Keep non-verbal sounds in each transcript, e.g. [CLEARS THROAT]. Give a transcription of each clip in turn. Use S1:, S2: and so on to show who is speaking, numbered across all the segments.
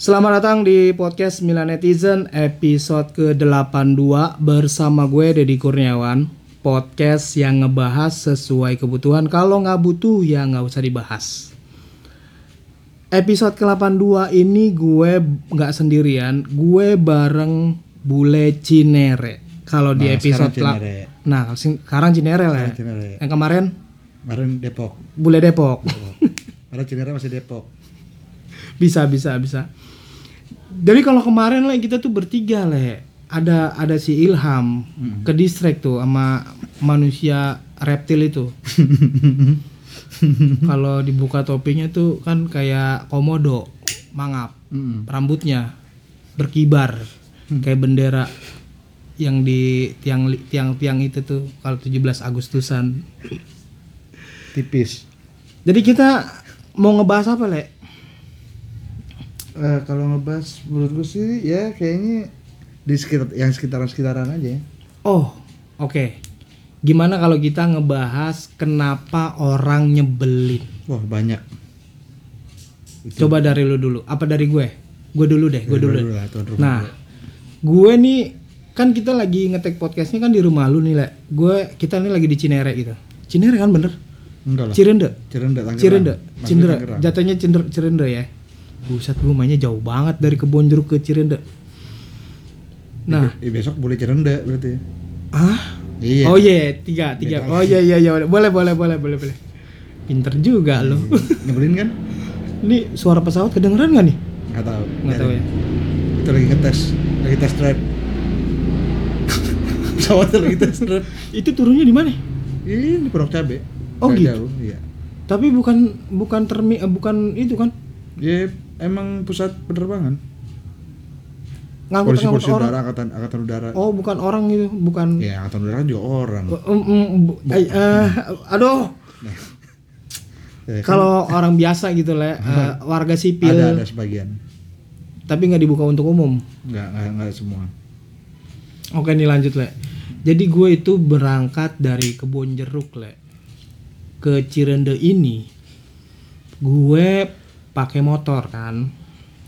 S1: Selamat datang di podcast Milan Netizen episode ke-82 bersama gue Deddy Kurniawan. Podcast yang ngebahas sesuai kebutuhan, kalau nggak butuh ya nggak usah dibahas. Episode ke-82 ini gue nggak sendirian, gue bareng Bule Cinere. Kalau di
S2: Nah,
S1: episode la-
S2: sekarang Cinere.
S1: Nah, sing- sekarang Cinere lah. ya.
S2: Cinere.
S1: Yang kemarin
S2: Kemarin Depok.
S1: Bule Depok.
S2: Karena Cinere masih Depok.
S1: bisa bisa bisa jadi kalau kemarin lah kita tuh bertiga le ada ada si Ilham ke distract tuh sama manusia reptil itu kalau dibuka topinya tuh kan kayak komodo mangap
S2: Mm-mm.
S1: rambutnya berkibar kayak bendera yang di tiang li- tiang-tiang itu tuh kalau 17 Agustusan
S2: Tipis.
S1: jadi kita mau ngebahas apa le
S2: Eh, kalau ngebahas menurut gue sih ya kayaknya di sekitar yang sekitaran-sekitaran aja. ya.
S1: Oh, oke. Gimana kalau kita ngebahas kenapa orang nyebelin?
S2: Wah, banyak.
S1: Coba dari lu dulu. Apa dari gue? Gue dulu deh, gue
S2: Dari
S1: dulu.
S2: dulu lah, tuan rumah
S1: Nah,
S2: dulu.
S1: gue nih kan kita lagi ngetek podcastnya kan di rumah lu nih, Le. Gue kita nih lagi di Cinere gitu. Cinere kan bener?
S2: Enggak lah.
S1: Cirende.
S2: Cirende Tangerang.
S1: Cirende.
S2: Maksudnya
S1: Cindera.
S2: Tangerang.
S1: Jatuhnya cinder, Cirende ya. Buset, gue mainnya jauh banget dari kebon jeruk ke Cirende. Nah,
S2: Ya, besok boleh Cirende berarti. ya.
S1: ah,
S2: Iya.
S1: Oh iya, tiga, tiga. Oh iya iya iya, boleh boleh boleh boleh boleh. Pinter juga lo.
S2: Nyebelin kan?
S1: Ini suara pesawat kedengeran nggak nih?
S2: Enggak tahu.
S1: Nggak tahu ya.
S2: Itu lagi ngetes, lagi test drive. [LAUGHS] Pesawatnya lagi test drive.
S1: Itu turunnya di mana?
S2: Ini di Pondok Cabe.
S1: Oh,
S2: Nggak
S1: gitu.
S2: Jauh, iya.
S1: Tapi bukan bukan termi eh, bukan itu kan
S2: Ya emang pusat penerbangan.
S1: ngangkut
S2: polisi
S1: ngangkut
S2: polisi
S1: orang.
S2: udara angkatan angkatan udara
S1: Oh bukan orang itu, bukan.
S2: ya angkatan udara juga orang
S1: Eh, em, em, bu- eh, eh, aduh,
S2: Ya, kan
S1: kalau orang biasa gitu lah, eh, warga sipil,
S2: ada ada sebagian
S1: tapi nggak dibuka untuk umum.
S2: nggak nggak nggak semua
S1: Oke nih lanjut le. Jadi gue itu berangkat dari kebun jeruk le ke Cirende ini. Gue pakai motor kan.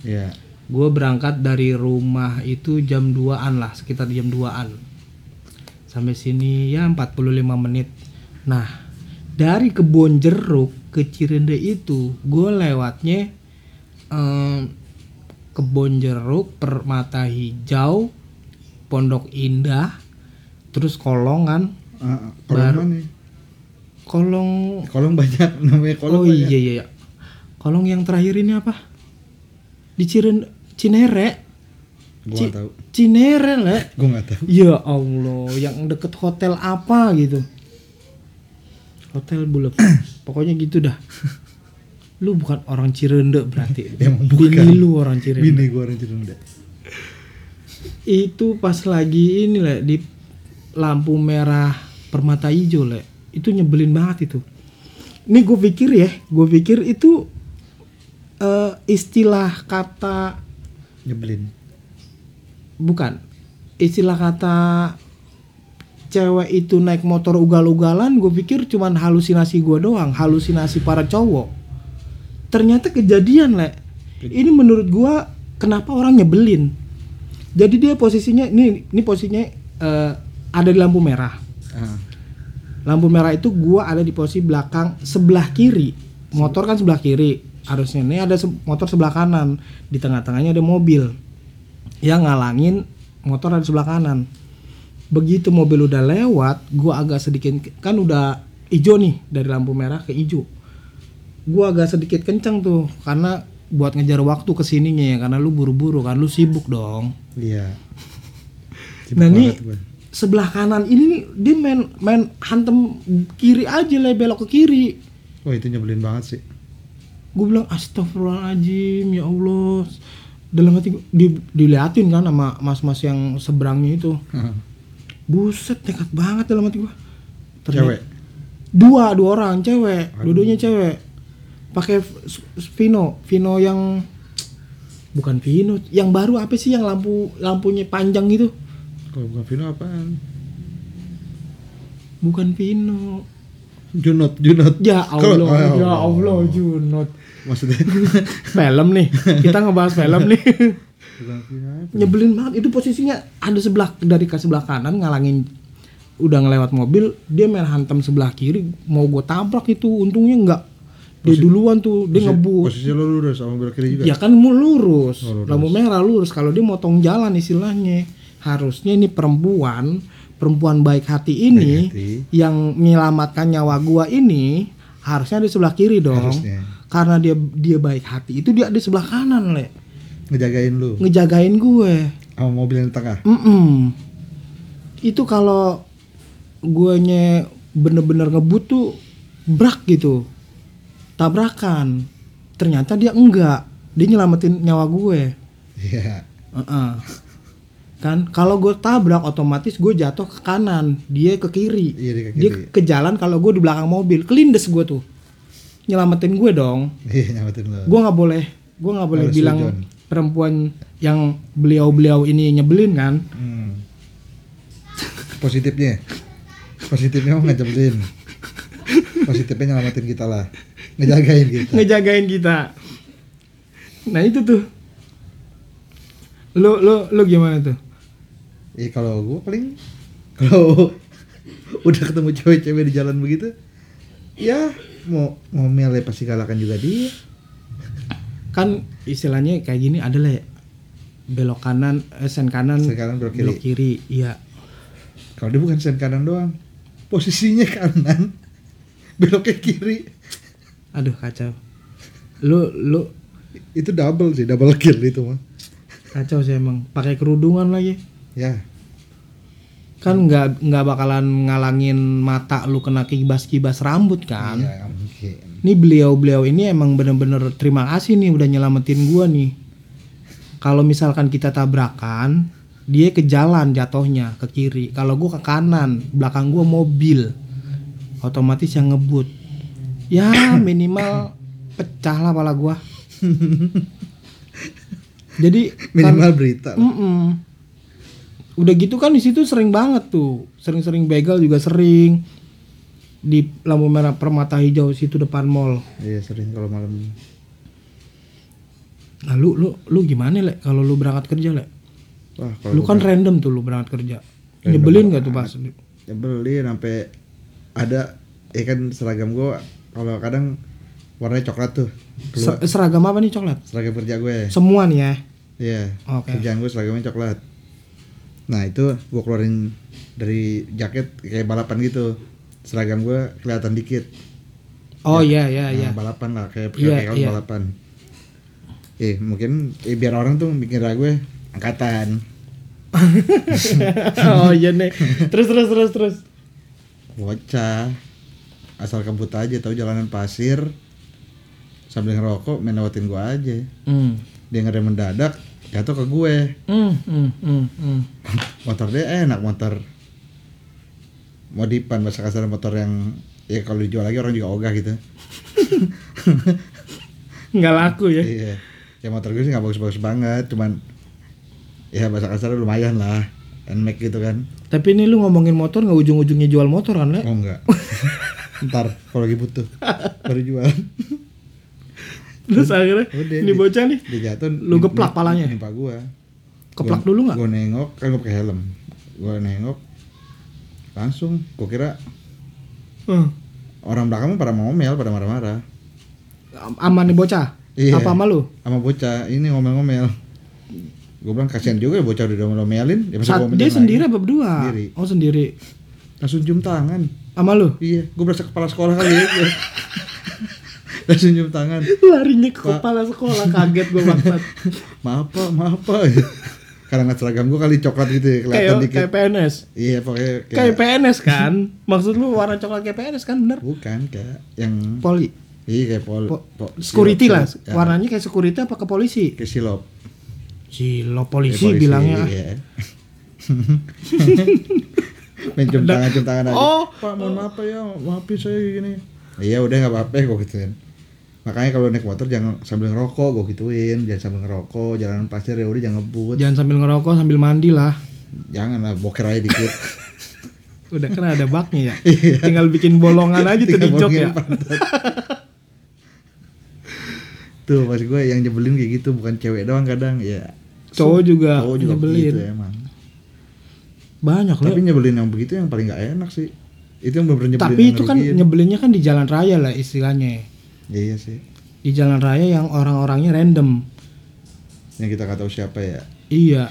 S2: ya
S1: Gue berangkat dari rumah itu jam 2-an lah, sekitar jam 2-an. Sampai sini ya 45 menit. Nah, dari kebun jeruk ke Cirende itu gue lewatnya em, kebun jeruk, permata hijau, pondok indah, terus kolongan,
S2: Ah, ah, kolong mana nih
S1: kolong
S2: kolong banyak [LAUGHS] namanya
S1: oh
S2: kolong ya? banyak.
S1: iya iya iya. kolong yang terakhir ini apa di Ciren Cinere
S2: gua
S1: Ci-
S2: nggak tahu
S1: Cinere le
S2: gua nggak tahu [LAUGHS]
S1: ya Allah yang deket hotel apa gitu hotel
S2: [COUGHS]
S1: bulat pokoknya gitu dah lu bukan orang Cirende berarti
S2: [LAUGHS] Emang
S1: bini
S2: bukan.
S1: lu orang Cirende
S2: bini gua orang Cirende
S1: itu pas lagi ini le di lampu merah permata hijau le itu nyebelin banget itu ini gue pikir ya gue pikir itu eh, istilah kata
S2: nyebelin
S1: bukan istilah kata cewek itu naik motor ugal-ugalan gue pikir cuman halusinasi gue doang halusinasi para cowok ternyata kejadian le ini menurut gue kenapa orang nyebelin jadi dia posisinya ini ini posisinya eh, ada di lampu merah
S2: ah
S1: lampu merah itu gua ada di posisi belakang sebelah kiri motor kan sebelah kiri harusnya ini ada se- motor sebelah kanan di tengah-tengahnya ada mobil yang ngalangin motor ada sebelah kanan begitu mobil udah lewat gua agak sedikit kan udah ijo nih dari lampu merah ke ijo gua agak sedikit kenceng tuh karena buat ngejar waktu kesininya ya karena lu buru-buru kan lu sibuk dong
S2: iya
S1: Nah, ini-
S2: banget gua.
S1: sebelah kanan ini nih dia main main hantem kiri aja lah belok ke kiri
S2: wah Oh, itu nyebelin banget sih [LAUGHS]
S1: gue bilang astagfirullahaladzim ya allah dalam hati gua- di, diliatin kan sama mas-mas yang seberangnya itu buset nekat banget dalam hati gue
S2: cewek
S1: dua dua orang cewek dua-duanya cewek pakai v- s- s- Vino Vino yang bukan Vino yang baru apa sih yang lampu lampunya panjang gitu
S2: kalau bukan Vino apaan
S1: bukan Vino
S2: Junot, Junot.
S1: Ya
S2: Kalau-
S1: Allah, ya
S2: oh,
S1: Allah Junot.
S2: Maksudnya [LAUGHS]
S1: Film nih, kita ngebahas film nih. [LAUGHS] Nyebelin banget itu posisinya ada sebelah dari ke sebelah kanan ngalangin udah ngelewat mobil, dia main hantam sebelah kiri mau gue tabrak itu untungnya enggak. Dia duluan tuh, dia ngebut.
S2: Posisi lo lurus sama belok kiri juga.
S1: Ya kan mau lurus,
S2: Oh, lurus.
S1: lampu merah lurus. Kalau dia motong jalan istilahnya, harusnya ini perempuan, perempuan baik hati ini
S2: Baik hati.
S1: yang menyelamatkan nyawa gua ini harusnya ada di sebelah kiri dong.
S2: Harusnya.
S1: Karena dia dia baik hati, itu dia ada di sebelah kanan, Le.
S2: Ngejagain lu
S1: Ngejagain gue.
S2: sama mobil yang di tengah.
S1: Mm-mm. Itu kalau guanya bener-bener ngebut tuh brak gitu. Tabrakan. Ternyata dia enggak. Dia nyelamatin nyawa gue.
S2: Iya.
S1: Heeh. Kan kalau gue tabrak otomatis gue jatuh ke kanan, dia ke kiri.
S2: Iya, dia ke
S1: Dia
S2: kiri.
S1: ke jalan kalau gue di belakang mobil, kelindes gue tuh. Nyelamatin gue dong.
S2: Iya, nyamatin lu.
S1: Gue nggak boleh, gue nggak boleh
S2: Harus
S1: bilang
S2: hujan.
S1: perempuan yang beliau-beliau ini nyebelin kan.
S2: Hmm. Positifnya. Positifnya mau ngejebelin. Positifnya nyelamatin kita lah. Ngejagain kita.
S1: ngejagain kita. Nah itu tuh. Lo lo lo gimana tuh?
S2: Ya kalau gue paling kalau [LAUGHS] udah ketemu cewek-cewek di jalan begitu, ya mau ngomel ya pasti kalahkan juga dia.
S1: Kan istilahnya kayak gini ada lah ya, belok kanan, eh, sen kanan,
S2: Sen kanan, belok kiri.
S1: Iya.
S2: Kalau dia bukan sen kanan doang, posisinya kanan, [LAUGHS] beloknya kiri.
S1: Aduh kacau. Lo lo
S2: Itu double sih, double kill itu mah.
S1: kacau sih emang. Pakai kerudungan lagi.
S2: Ya,
S1: Kan nggak nggak bakalan ngalangin mata lu kena kibas-kibas rambut kan.
S2: iya mungkin.
S1: Ini beliau-beliau ini emang bener-bener terima kasih nih udah nyelamatin gua nih. Kalau misalkan kita tabrakan, dia ke jalan jatuhnya ke kiri. Kalau gua ke kanan, belakang gua mobil. Otomatis yang ngebut. Ya minimal pecah lah pala gua. Jadi
S2: Minimal berita. lah.
S1: Mm-mm. Udah gitu kan di situ sering banget tuh, sering-sering begal juga sering di lampu merah permata hijau situ depan mall.
S2: Iya sering kalau malam.
S1: Nah lu lu lu gimana le kalau lu berangkat kerja le?
S2: Wah, kalau
S1: Lu
S2: gua
S1: kan random tuh lu berangkat kerja. Nyebelin gak tuh pas?
S2: nyebelin iya, sampai ada ya kan seragam gua kalau kadang warnanya coklat tuh. Keluar.
S1: Se- Seragam apa nih coklat?
S2: seragam kerja gue.
S1: Semua nih ya.
S2: Iya.
S1: Oke.
S2: Kerjaan gue seragamnya coklat. Nah itu gue keluarin dari jaket kayak balapan gitu. Seragam gue kelihatan dikit.
S1: Oh iya iya
S2: Nah,
S1: iya. [LAUGHS]
S2: Balapan lah kayak
S1: Iya,
S2: kayak kaos
S1: iya.
S2: balapan. Eh mungkin eh, biar orang tuh mikirnya gue angkatan.
S1: oh iya
S2: [LAUGHS]
S1: nih. Terus terus terus terus.
S2: bocah asal kebut aja tahu jalanan pasir sambil ngerokok main lewatin gua aja
S1: Hmm.
S2: dia ngerem mendadak jatuh ke gue
S1: Hmm hmm hmm. hmm.
S2: motor dia enak motor modifan bahasa kasar motor yang ya kalau dijual lagi orang juga ogah
S1: [LAUGHS]
S2: gitu
S1: Nggak laku ya.
S2: iya ya motor gue sih nggak bagus-bagus banget cuman ya bahasa kasar lumayan lah nmax gitu kan
S1: Tapi ini lu ngomongin motor nggak ujung-ujungnya jual motor kan le?
S2: oh
S1: [LAUGHS]
S2: enggak ntar kalau lagi butuh baru jual
S1: Terus akhirnya
S2: Udah,
S1: ini
S2: di-
S1: bocah nih
S2: dia jatuh
S1: Lu
S2: nim-
S1: geplak
S2: nim-
S1: palanya?
S2: nimpa gua
S1: keplak dulu nggak?
S2: gue nengok kan gue pakai helm gue nengok langsung gue kira
S1: Hmm.
S2: orang belakang mah pada ngomel pada marah-marah
S1: Am- Aman nih bocah?
S2: Iya.
S1: Apa sama lu?
S2: sama bocah ini ngomel-ngomel gue bilang kasihan juga ya bocah udah ngomelin ya masa
S1: Saat
S2: gua ngomelin
S1: dia
S2: lagi?"
S1: sendiri apa berdua?
S2: Sendiri.
S1: Oh sendiri.
S2: langsung cium tangan
S1: Sama lu?
S2: iya gue berasa kepala sekolah kali ya [LAUGHS] langsung cium tangan
S1: [LAUGHS] Larinya ke
S2: Pak.
S1: kepala sekolah kaget gue bangsat.
S2: maaf pak maaf pak karena nggak seragam gue kali coklat gitu ya
S1: [LAUGHS]
S2: kelihatan
S1: kayak
S2: dikit
S1: kayak PNS.
S2: iya pakai
S1: Kayak
S2: kayak
S1: PNS kan? Maksud lu warna coklat kayak PNS kan bener?
S2: bukan kayak yang
S1: Poli.
S2: iya kayak pol,
S1: Po-
S2: po-
S1: security
S2: silop-
S1: lah.
S2: silop. Ya,
S1: Warnanya kayak security apa ke polisi?
S2: kayak silop
S1: Silo
S2: Ya,
S1: polisi, bilangnya. ah.
S2: iya. [LAUGHS] Main cium tangan, cium tangan aja.
S1: Oh.
S2: Pak, mohon maaf Pak, ya, maafin saya gini. Iya, udah nggak apa-apa, gue gituin. Makanya kalau naik motor jangan sambil ngerokok, gue gituin. Jangan sambil ngerokok, jalanan pasir ya udah jangan ngebut.
S1: Jangan sambil ngerokok sambil mandi lah. [LAUGHS]
S2: Jangan lah, boker aja dikit.
S1: udah kan ada
S2: [LAUGHS]
S1: baknya ya tinggal bikin bolongan aja tuh di
S2: Iya. Tinggal
S1: jok
S2: mungkin
S1: ya
S2: pantat. [LAUGHS] tuh maksud gue yang nyebelin kayak gitu bukan cewek doang kadang ya
S1: cowok juga,
S2: cowok juga
S1: nyebelin
S2: begitu ya, emang
S1: banyak lah
S2: tapi nyebelin yang begitu yang paling nggak enak sih itu yang bener-bener nyebelin
S1: tapi
S2: yang
S1: itu kan
S2: ngerugiin.
S1: nyebelinnya kan di jalan raya lah istilahnya
S2: Ya, iya sih
S1: di jalan raya yang orang-orangnya random
S2: yang kita nggak tahu siapa ya
S1: iya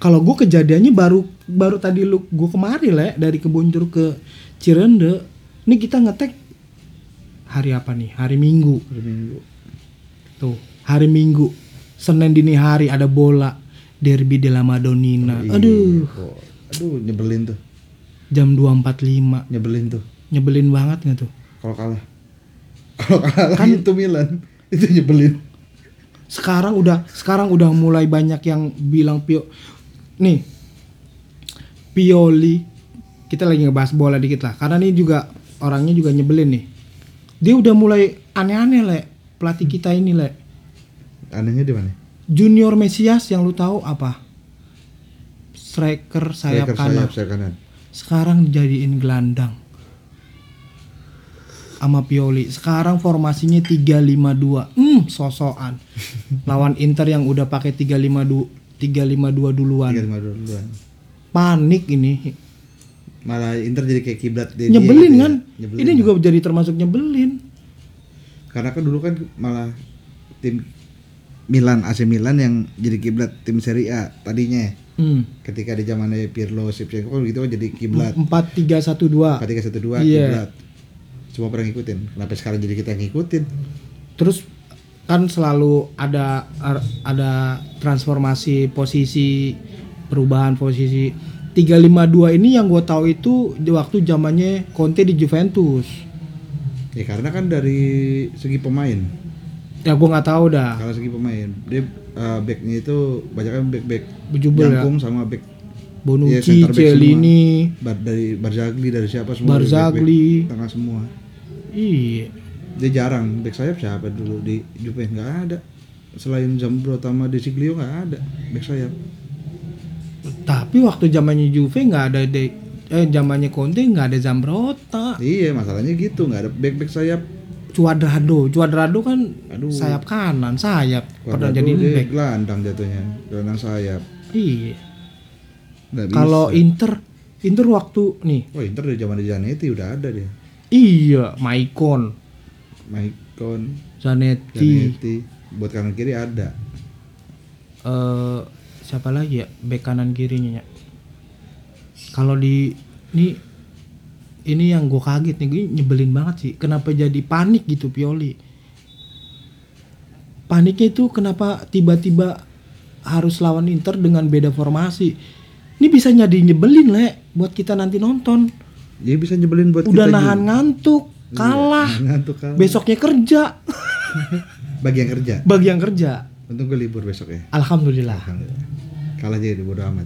S1: kalau gue kejadiannya baru baru tadi lu gue kemari lah ya, dari kebonjur ke Cirende ini kita ngetek hari apa nih hari Minggu
S2: hari minggu
S1: tuh hari Minggu Senin dini hari ada bola derby della Madonnina
S2: Iya,
S1: Nah, aduh
S2: kok. aduh nyebelin tuh
S1: jam 2.45
S2: nyebelin tuh
S1: nyebelin banget nggak tuh
S2: kalau kalah [LAUGHS] kalau kalah kan itu Milan [LAUGHS] itu nyebelin
S1: sekarang udah sekarang udah mulai banyak yang bilang Pio nih Pioli kita lagi ngebahas bola dikit lah karena ini juga orangnya juga nyebelin nih dia udah mulai aneh-aneh le pelatih kita ini le
S2: anehnya di mana
S1: Junior Mesias yang lu tahu apa striker sayap
S2: Striker
S1: kanan
S2: sayap sayap kanan
S1: sekarang dijadiin gelandang sama Pioli. Sekarang formasinya 352. Hmm,
S2: [LAUGHS]
S1: sosokan. Lawan Inter yang udah pakai 352 352 duluan.
S2: tiga lima duluan
S1: Panik ini.
S2: malah Inter jadi kayak kiblat dia
S1: Nyebelin
S2: gitu ya.
S1: kan?
S2: Nyebelin.
S1: Ini juga jadi termasuk nyebelin.
S2: karena kan dulu kan malah tim Milan AC Milan yang jadi kiblat tim Serie A tadinya
S1: Hmm.
S2: ketika di zamannya Pirlo Shevchenko kan gitu kan jadi kiblat
S1: 4312.
S2: 4312
S1: Iya.
S2: kiblat semua pernah ngikutin kenapa sekarang jadi kita yang ngikutin
S1: Terus kan selalu ada ar- ada transformasi posisi perubahan posisi 352 ini yang gue tahu itu di waktu zamannya Conte di Juventus
S2: ya karena kan dari segi pemain
S1: ya gue nggak tahu dah
S2: kalau segi pemain dia eh, backnya itu banyak kan back back
S1: Bejubel ya
S2: jangkung sama back Iya,
S1: Bonucci,
S2: center back
S1: Celini
S2: bar- dari Barzagli dari siapa semua dari back-back
S1: Barzagli.
S2: tengah semua
S1: iya
S2: dia jarang back sayap siapa dulu di Juve nggak ada selain Zambro sama Desiglio nggak ada back sayap
S1: tapi waktu zamannya Juve nggak ada de eh zamannya Conte nggak ada Zambrotta
S2: iya masalahnya gitu nggak ada back back sayap
S1: Cuadrado Cuadrado kan
S2: Aduh.
S1: sayap kanan sayap pernah
S2: Cuadrado
S1: jadi
S2: dia
S1: back
S2: gelandang jatuhnya gelandang sayap
S1: iya
S2: Nggak bisa.
S1: kalau Inter Inter waktu nih
S2: oh Inter dari zaman Zanetti udah ada dia
S1: Iya, Maicon,
S2: Maicon
S1: Zanetti,
S2: Zanetti buat kanan kiri ada
S1: eh siapa lagi ya bek kanan kirinya ya? Kalau di ini ini yang gue kaget nih, gue nyebelin banget sih. Kenapa jadi panik gitu Pioli? Paniknya itu kenapa tiba-tiba harus lawan Inter dengan beda formasi? Ini bisa jadi nyebelin le buat kita nanti nonton.
S2: dia bisa nyebelin buat
S1: Udah
S2: kita
S1: nahan ngantuk, kalah.
S2: ngantuk kalah
S1: Besoknya
S2: [LAUGHS]
S1: kerja
S2: bagi yang kerja
S1: bagi yang kerja.
S2: untung gue libur besok ya
S1: Alhamdulillah.
S2: Alhamdulillah. kalah aja dia bodo amat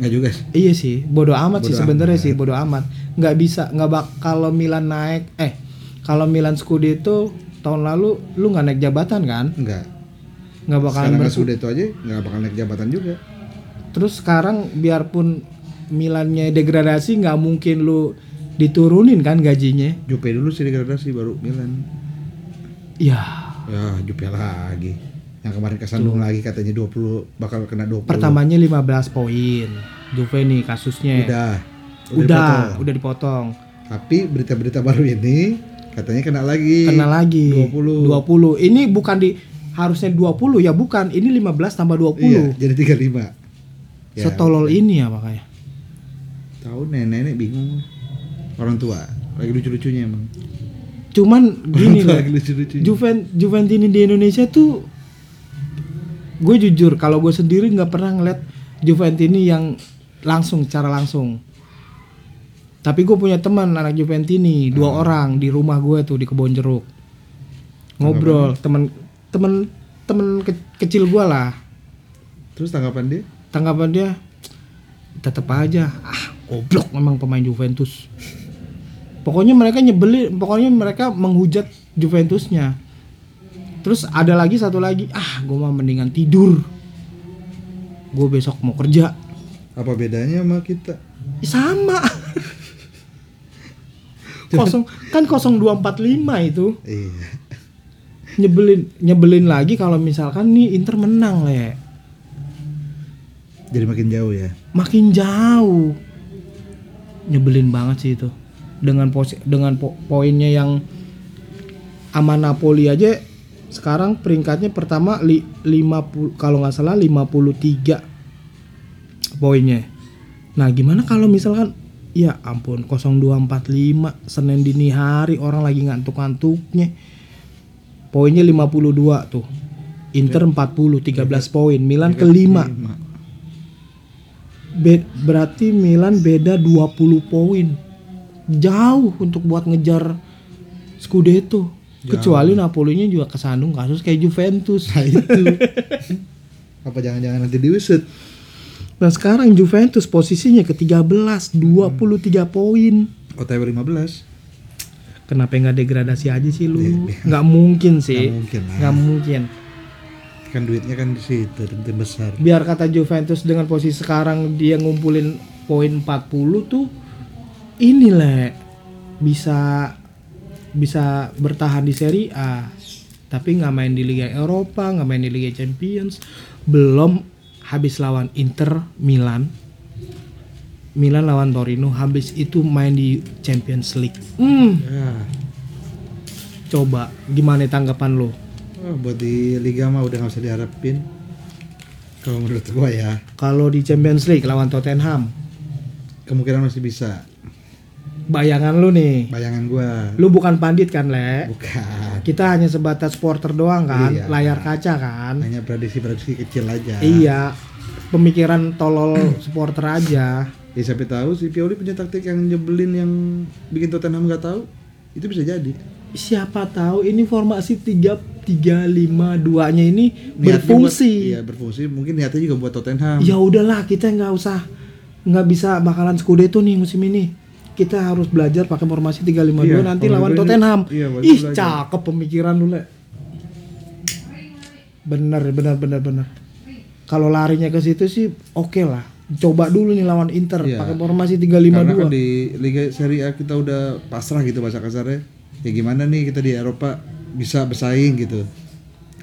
S2: nggak juga sih
S1: Iya sih, bodoh amat sih
S2: Bodo
S1: sebenarnya
S2: amat.
S1: sih,
S2: ya.
S1: bodoh amat. Nggak bisa, nggak bak kalau Milan naik, eh kalau Milan Scudetto tahun lalu lu nggak naik jabatan kan?
S2: nggak
S1: Nggak bakalan
S2: sekarang nggak
S1: bersu-
S2: sudah itu aja nggak bakal naik jabatan juga
S1: Terus sekarang biarpun Milannya degradasi nggak mungkin lu diturunin kan gajinya?
S2: Jupe dulu sih degradasi baru Milan
S1: Ya,
S2: ya Jupe lagi yang kemarin kesandung lagi katanya 20 bakal kena 20
S1: pertamanya 15 poin. Juve nih kasusnya.
S2: udah
S1: udah,
S2: dipotong.
S1: udah dipotong.
S2: tapi berita-berita baru ini katanya kena lagi
S1: Kena lagi
S2: 20.
S1: 20. Ini bukan di harusnya 20 ya bukan, ini 15 tambah 20.
S2: iya jadi 35 Ya,
S1: Setolol ini ya makanya.
S2: tahu nenek-nenek bingung orang tua lagi lucu-lucunya emang
S1: Cuman gini
S2: Orang tua
S1: loh.
S2: lagi lucu-lucunya
S1: Juven Juventini di Indonesia tuh gue jujur kalau gue sendiri nggak pernah ngeliat Juventini yang langsung secara langsung. Tapi gue punya teman anak Juventini dua orang di rumah gue tuh di kebon jeruk ngobrol temen temen temen ke- kecil gue lah
S2: terus tanggapan dia
S1: tanggapan dia tetap aja ah goblok memang pemain Juventus pokoknya mereka nyebelin pokoknya mereka menghujat Juventusnya terus ada lagi satu lagi ah gue mah mendingan tidur gue besok mau kerja
S2: apa bedanya sama kita
S1: Ih, sama kosong kan 0245 itu
S2: Iya. [LAUGHS]
S1: nyebelin nyebelin lagi kalau misalkan nih Inter menang le
S2: Jadi makin jauh ya.
S1: makin jauh nyebelin banget sih itu dengan posi dengan po- poinnya yang sama Napoli aja sekarang peringkatnya pertama li 50 kalau nggak salah 53 poinnya nah gimana kalau misalkan ya ampun 0245 Senin dini hari orang lagi ngantuk-ngantuknya poinnya 52 tuh Inter 40 13 poin Milan kelima
S2: Lima.
S1: Be- berarti Milan beda 20 poin. Jauh untuk buat ngejar Scudetto. Kecuali Napolinya juga kesandung kasus kayak Juventus.
S2: Nah itu. Apa jangan-jangan nanti diusut?
S1: [LAUGHS] Nah sekarang Juventus posisinya ke-13, 23 poin.
S2: OTW 15.
S1: Kenapa nggak degradasi aja sih lu?
S2: Iya.
S1: Nggak mungkin sih.
S2: Nggak mungkin lah.
S1: Nggak mungkin.
S2: Kan duitnya kan di situ, tim besar.
S1: Biar kata Juventus dengan posisi sekarang dia ngumpulin poin 40 tuh ini le bisa bisa bertahan di Serie A tapi nggak main di Liga Eropa nggak main di Liga Champions belum habis lawan Inter Milan Milan lawan Torino habis itu main di Champions League hmm,
S2: Ya.
S1: coba gimana tanggapan lo
S2: Oh, buat di liga mah udah nggak usah diharapin. Kalau menurut gua ya,
S1: kalau di Champions League lawan Tottenham
S2: kemungkinan masih bisa.
S1: bayangan lu nih
S2: Bayangan gua
S1: lu bukan pandit kan le
S2: bukan
S1: kita hanya sebatas supporter doang kan
S2: Iya.
S1: layar kaca kan
S2: hanya prediksi-prediksi kecil aja.
S1: Iya, pemikiran
S2: [CLEARS THROAT]
S1: tolol supporter aja.
S2: Ya siapa tahu si Pioli punya taktik yang nyebelin yang bikin Tottenham nggak tahu. Itu bisa jadi.
S1: Siapa tahu ini formasi 3 352-nya ini
S2: Niatnya buat-
S1: berfungsi.
S2: Iya, berfungsi. Mungkin niatnya juga buat Tottenham.
S1: Ya udahlah, kita nggak usah nggak bisa bakalan Scudetto nih musim ini. Kita harus belajar pakai formasi 352
S2: Iya,
S1: nanti
S2: kalau
S1: lawan
S2: gue ini-
S1: Tottenham.
S2: iya, baru
S1: Ih,
S2: belajar.
S1: cakep pemikiran lu, Le. Bener, bener, bener, bener. Kalau larinya ke situ sih oke lah. Coba dulu nih lawan Inter
S2: Iya.
S1: pakai formasi
S2: Karena
S1: 352.
S2: kan di Liga Serie A kita udah pasrah gitu bahasa kasarnya. Ya gimana nih kita di Eropa bisa bersaing gitu.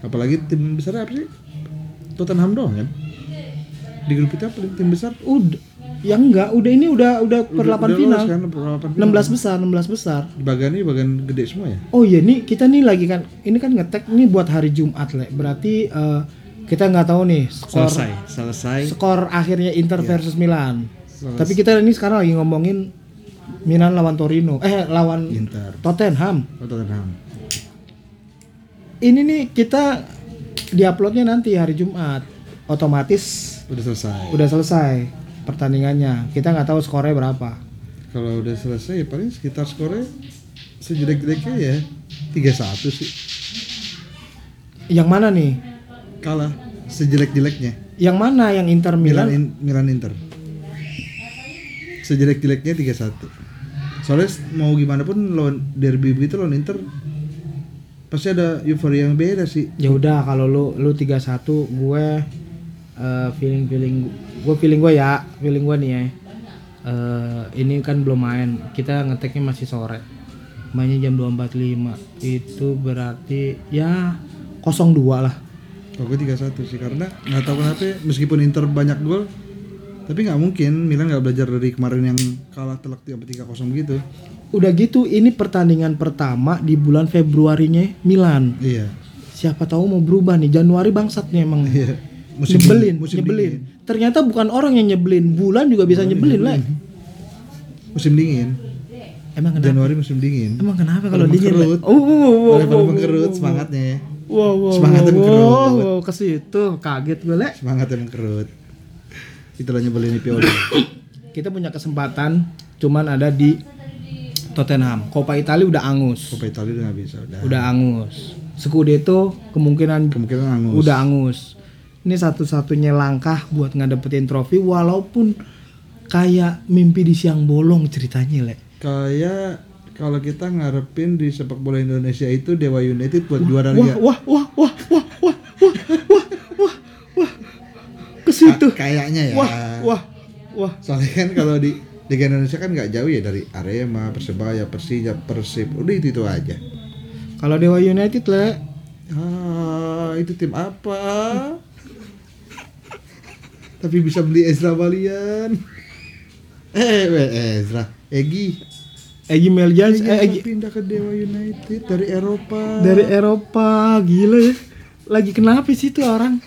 S2: Apalagi tim besar apa sih? Tottenham doang kan? Di grup kita apa tim besar?
S1: Udah, ya enggak, udah ini udah udah per
S2: Udah-
S1: 8
S2: udah
S1: final.
S2: lolos Kan, per 8 final.
S1: 16 besar, 16 besar.
S2: Di bagian ini bagian gede semua ya?
S1: Oh iya nih kita nih lagi kan ini kan ngetek nih buat hari Jumat le. Berarti eh, kita nggak tahu nih skor
S2: Selesai.
S1: skor akhirnya Inter versus Milan.
S2: Selesai.
S1: Tapi kita ini sekarang lagi ngomongin Milan lawan Torino, eh lawan
S2: Inter.
S1: Tottenham.
S2: Oh, Tottenham.
S1: Ini nih kita diuploadnya nanti hari Jumat. Otomatis
S2: Udah selesai.
S1: udah selesai pertandingannya. Kita nggak tahu skornya berapa.
S2: Kalau udah selesai ya paling sekitar skornya sejelek-jeleknya ya 3-1 sih.
S1: Yang mana nih?
S2: Kalah sejelek-jeleknya.
S1: Yang mana yang Inter
S2: Milan
S1: Milan?
S2: In- Milan Inter. Sejelek-jeleknya 3-1. Soalnya s- mau gimana pun lawan derby begitu lawan Inter pasti ada euforia yang beda sih.
S1: ya udah kalau lu lu 31 gue eh, feeling feeling gue feeling gue ya feeling gue nih ya Eh, ini kan belum main kita ngeteknya masih sore mainnya jam 2.45 itu berarti ya 02 lah
S2: Kalau gue 3-1 sih karena nggak tahu kenapa ya, meskipun Inter banyak gol tapi nggak mungkin Milan nggak belajar dari kemarin yang kalah telak sampai 3-0 begitu.
S1: udah gitu ini pertandingan pertama di bulan Februarinya Milan
S2: Iya.
S1: siapa tahu mau berubah nih Januari bangsat nih emang
S2: Iya.
S1: nyebelin
S2: dingin- musim
S1: nyebelin
S2: dingin.
S1: ternyata bukan orang yang nyebelin bulan juga bisa nyebelin lah
S2: musim dingin
S1: emang kenapa
S2: Januari musim dingin
S1: Emang kenapa kalau
S2: Pada
S1: dingin? Le?
S2: mengkerut.
S1: Oh, wow, wow, wow,
S2: Pada pada
S1: wow,
S2: mengkerut
S1: wow,
S2: semangatnya ya.
S1: Wow, wow,
S2: Semangatnya
S1: wow,
S2: mengkerut.
S1: wow, wow, ke situ kaget gue le.
S2: semangatnya mengkerut itulah nyebelin Pioli
S1: Kita punya kesempatan, cuman ada di Tottenham. Coppa Italia udah angus,
S2: Copa Italia udah nggak bisa udah
S1: udah angus. Scudetto kemungkinan
S2: kemungkinan angus
S1: udah angus. Ini satu-satunya langkah buat ngadepetin trofi, walaupun kayak mimpi di siang bolong ceritanya le.
S2: kayak kalau kita ngarepin di sepak bola Indonesia itu Dewa United buat juara
S1: Wah,
S2: liga
S1: wah, wah, wah, wah, wah, wah, wah, wah, wah, ke situ.
S2: Ka- kayaknya ya
S1: Wah, wah, wah.
S2: soalnya kan kalau di Liga Indonesia kan nggak jauh ya dari Arema, Persebaya, Persija, Persib. Udah itu itu aja.
S1: Kalau Dewa United le,
S2: Ah, itu tim apa? Tapi bisa beli Ezra Balian. Eh, eh, Ezra, Egi.
S1: Egi Meljan,
S2: Egi
S1: eh, Egi
S2: pindah ke Dewa United dari Eropa.
S1: dari Eropa, gila ya. Lagi kenapa sih itu orang?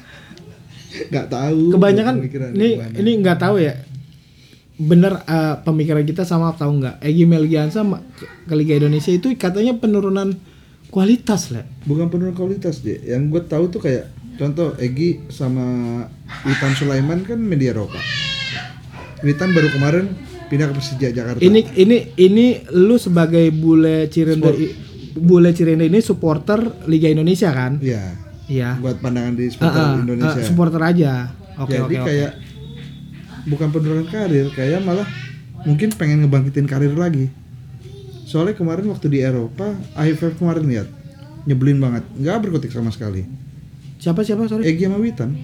S2: nggak tahu.
S1: Kebanyakan
S2: Pemikiran
S1: ini
S2: gimana.
S1: ini nggak tahu ya. Bener eh, pemikiran kita sama atau nggak? Egi Meljan sama ke, ke Liga Indonesia itu katanya penurunan kualitas le.
S2: bukan penurunan kualitas deh. Yang gue tahu tuh kayak contoh Egi sama Witan Sulaiman kan media Eropa. Witan baru kemarin pindah ke Persija Jakarta.
S1: Ini ini ini lu sebagai bule Cirende
S2: Sport.
S1: i- bule Cirende ini supporter Liga Indonesia kan?
S2: ya
S1: Iya.
S2: buat pandangan
S1: Ah,
S2: di supporter
S1: ah, ah,
S2: Indonesia.
S1: supporter aja. Oke
S2: Jadi
S1: oke. oke.
S2: kayak bukan penurunan karir, kayak malah mungkin pengen ngebangkitin karir lagi. Soalnya kemarin waktu di Eropa, AFF kemarin lihat nyebelin banget, nggak berkutik sama sekali.
S1: Siapa siapa sorry?
S2: Egi sama Witan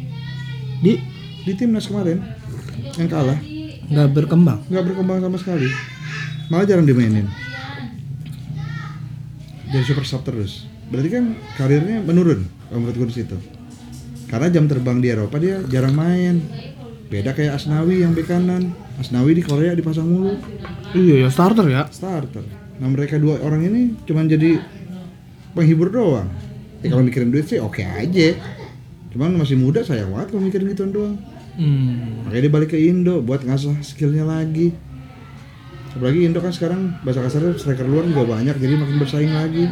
S1: Di
S2: di timnas kemarin yang kalah
S1: nggak berkembang.
S2: nggak berkembang sama sekali malah jarang dimainin jadi super sub terus berarti kan karirnya menurun kalau menurut gue di situ karena jam terbang di Eropa dia jarang main beda kayak Asnawi yang bek kanan Asnawi di Korea dipasang mulu
S1: Iya ya starter ya.
S2: starter nah mereka dua orang ini cuman jadi penghibur doang ya kalau mikirin duit sih oke aja cuman masih muda sayang banget kalau mikirin gituan doang
S1: Hmm.
S2: makanya dia balik ke Indo buat ngasah skillnya lagi apalagi Indo kan sekarang bahasa kasarnya striker luar juga banyak jadi makin bersaing lagi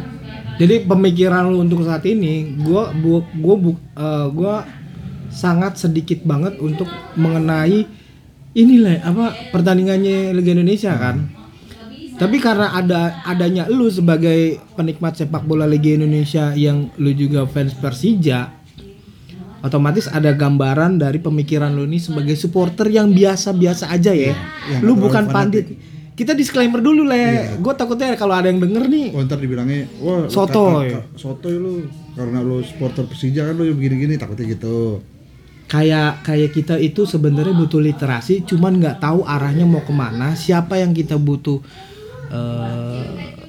S1: Jadi pemikiran lu untuk saat ini, gua bu, gua bu, eh, gua sangat sedikit banget untuk mengenai inilah apa pertandingannya Liga Indonesia kan. Tapi karena ada adanya lu sebagai penikmat sepak bola Liga Indonesia yang lu juga fans Persija, otomatis ada gambaran dari pemikiran lu ini sebagai supporter yang biasa-biasa aja ya.
S2: yang
S1: lu
S2: Iya, nggak
S1: bukan
S2: terlalu Iya.
S1: pandit. Kita disclaimer dulu le. Gue takutnya kalau ada yang denger nih
S2: oh, ntar dibilangnya wah lu
S1: Sotoy.
S2: ka- ka- sotoy lu karena lu supporter Persija kan lu begini-gini takutnya gitu
S1: kayak kayak kita itu sebenarnya butuh literasi cuman nggak tahu arahnya mau kemana siapa yang kita butuh eh,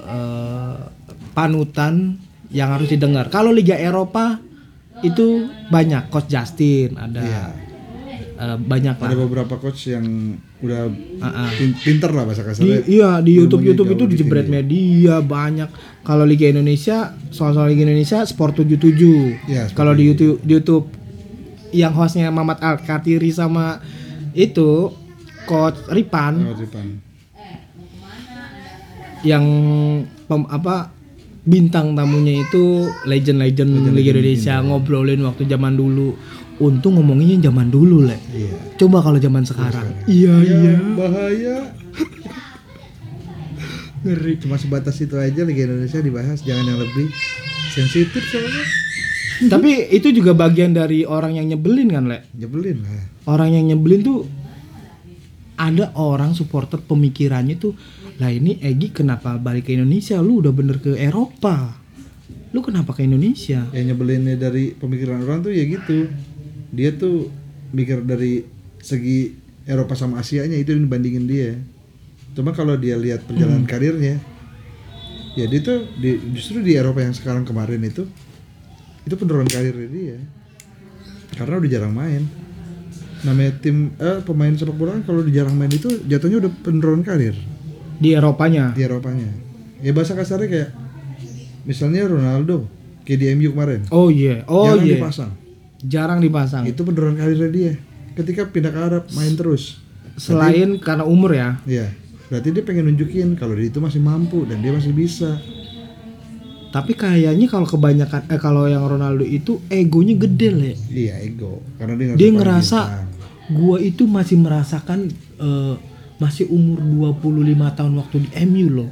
S1: eh, panutan yang harus didengar kalau Liga Eropa itu banyak Coach Justin ada eh, banyak lah
S2: ada beberapa coach yang udah
S1: Ah, ah.
S2: pin- pinter lah bahasa
S1: di,
S2: kasarnya
S1: iya di
S2: Ilmunya
S1: YouTube YouTube
S2: jauh
S1: itu
S2: lebih
S1: dijebret
S2: tinggi.
S1: media banyak kalau Liga Indonesia soal-soal Liga Indonesia Sport 77
S2: Iya, Sport
S1: kalau di YouTube di YouTube yang hostnya Mamat Al Katiri sama itu Coach Ripan
S2: Lewat depan.
S1: yang pem- apa bintang tamunya itu legend-legend Liga Indonesia ngobrolin waktu zaman dulu untung ngomonginnya zaman dulu lah
S2: iya
S1: coba kalau zaman sekarang iya iya
S2: Ya, bahaya
S1: ngeri
S2: cuma sebatas itu aja Liga Indonesia dibahas jangan yang lebih sensitif soalnya
S1: tapi itu juga bagian dari orang yang nyebelin kan le
S2: nyebelin lah
S1: orang yang nyebelin tuh ada orang supporter pemikirannya tuh lah ini Egi kenapa balik ke Indonesia lu udah bener ke Eropa lu kenapa ke Indonesia
S2: yang nyebelinnya dari pemikiran orang tuh ya gitu dia tuh mikir dari segi Eropa sama Asianya itu yang dibandingin dia cuma kalau dia lihat perjalanan karirnya ya dia tuh di- justru di Eropa yang sekarang kemarin itu itu penurunan karirnya dia karena udah jarang main namanya tim eh, pemain sepak bola kan kalau udah jarang main itu jatuhnya udah penurunan karir
S1: di Eropanya
S2: di Eropanya ya bahasa kasarnya kayak misalnya Ronaldo kayak di MU kemarin
S1: oh iya oh
S2: jarang
S1: iya
S2: dipasang. Gitu.
S1: jarang dipasang
S2: Itu penurunan karirnya dia. Ketika pindah ke Arab main terus.
S1: selain karena umur ya
S2: Iya. Berarti dia pengen nunjukin kalau dia itu masih mampu dan dia masih bisa.
S1: tapi kayaknya kalau kebanyakan eh kalau yang Ronaldo itu egonya gede le
S2: Iya ego. Karena dia,
S1: dia
S2: ngerasa paling
S1: ngerasa
S2: bintang.
S1: gua itu masih merasakan eh, masih umur 25 tahun waktu di MU loh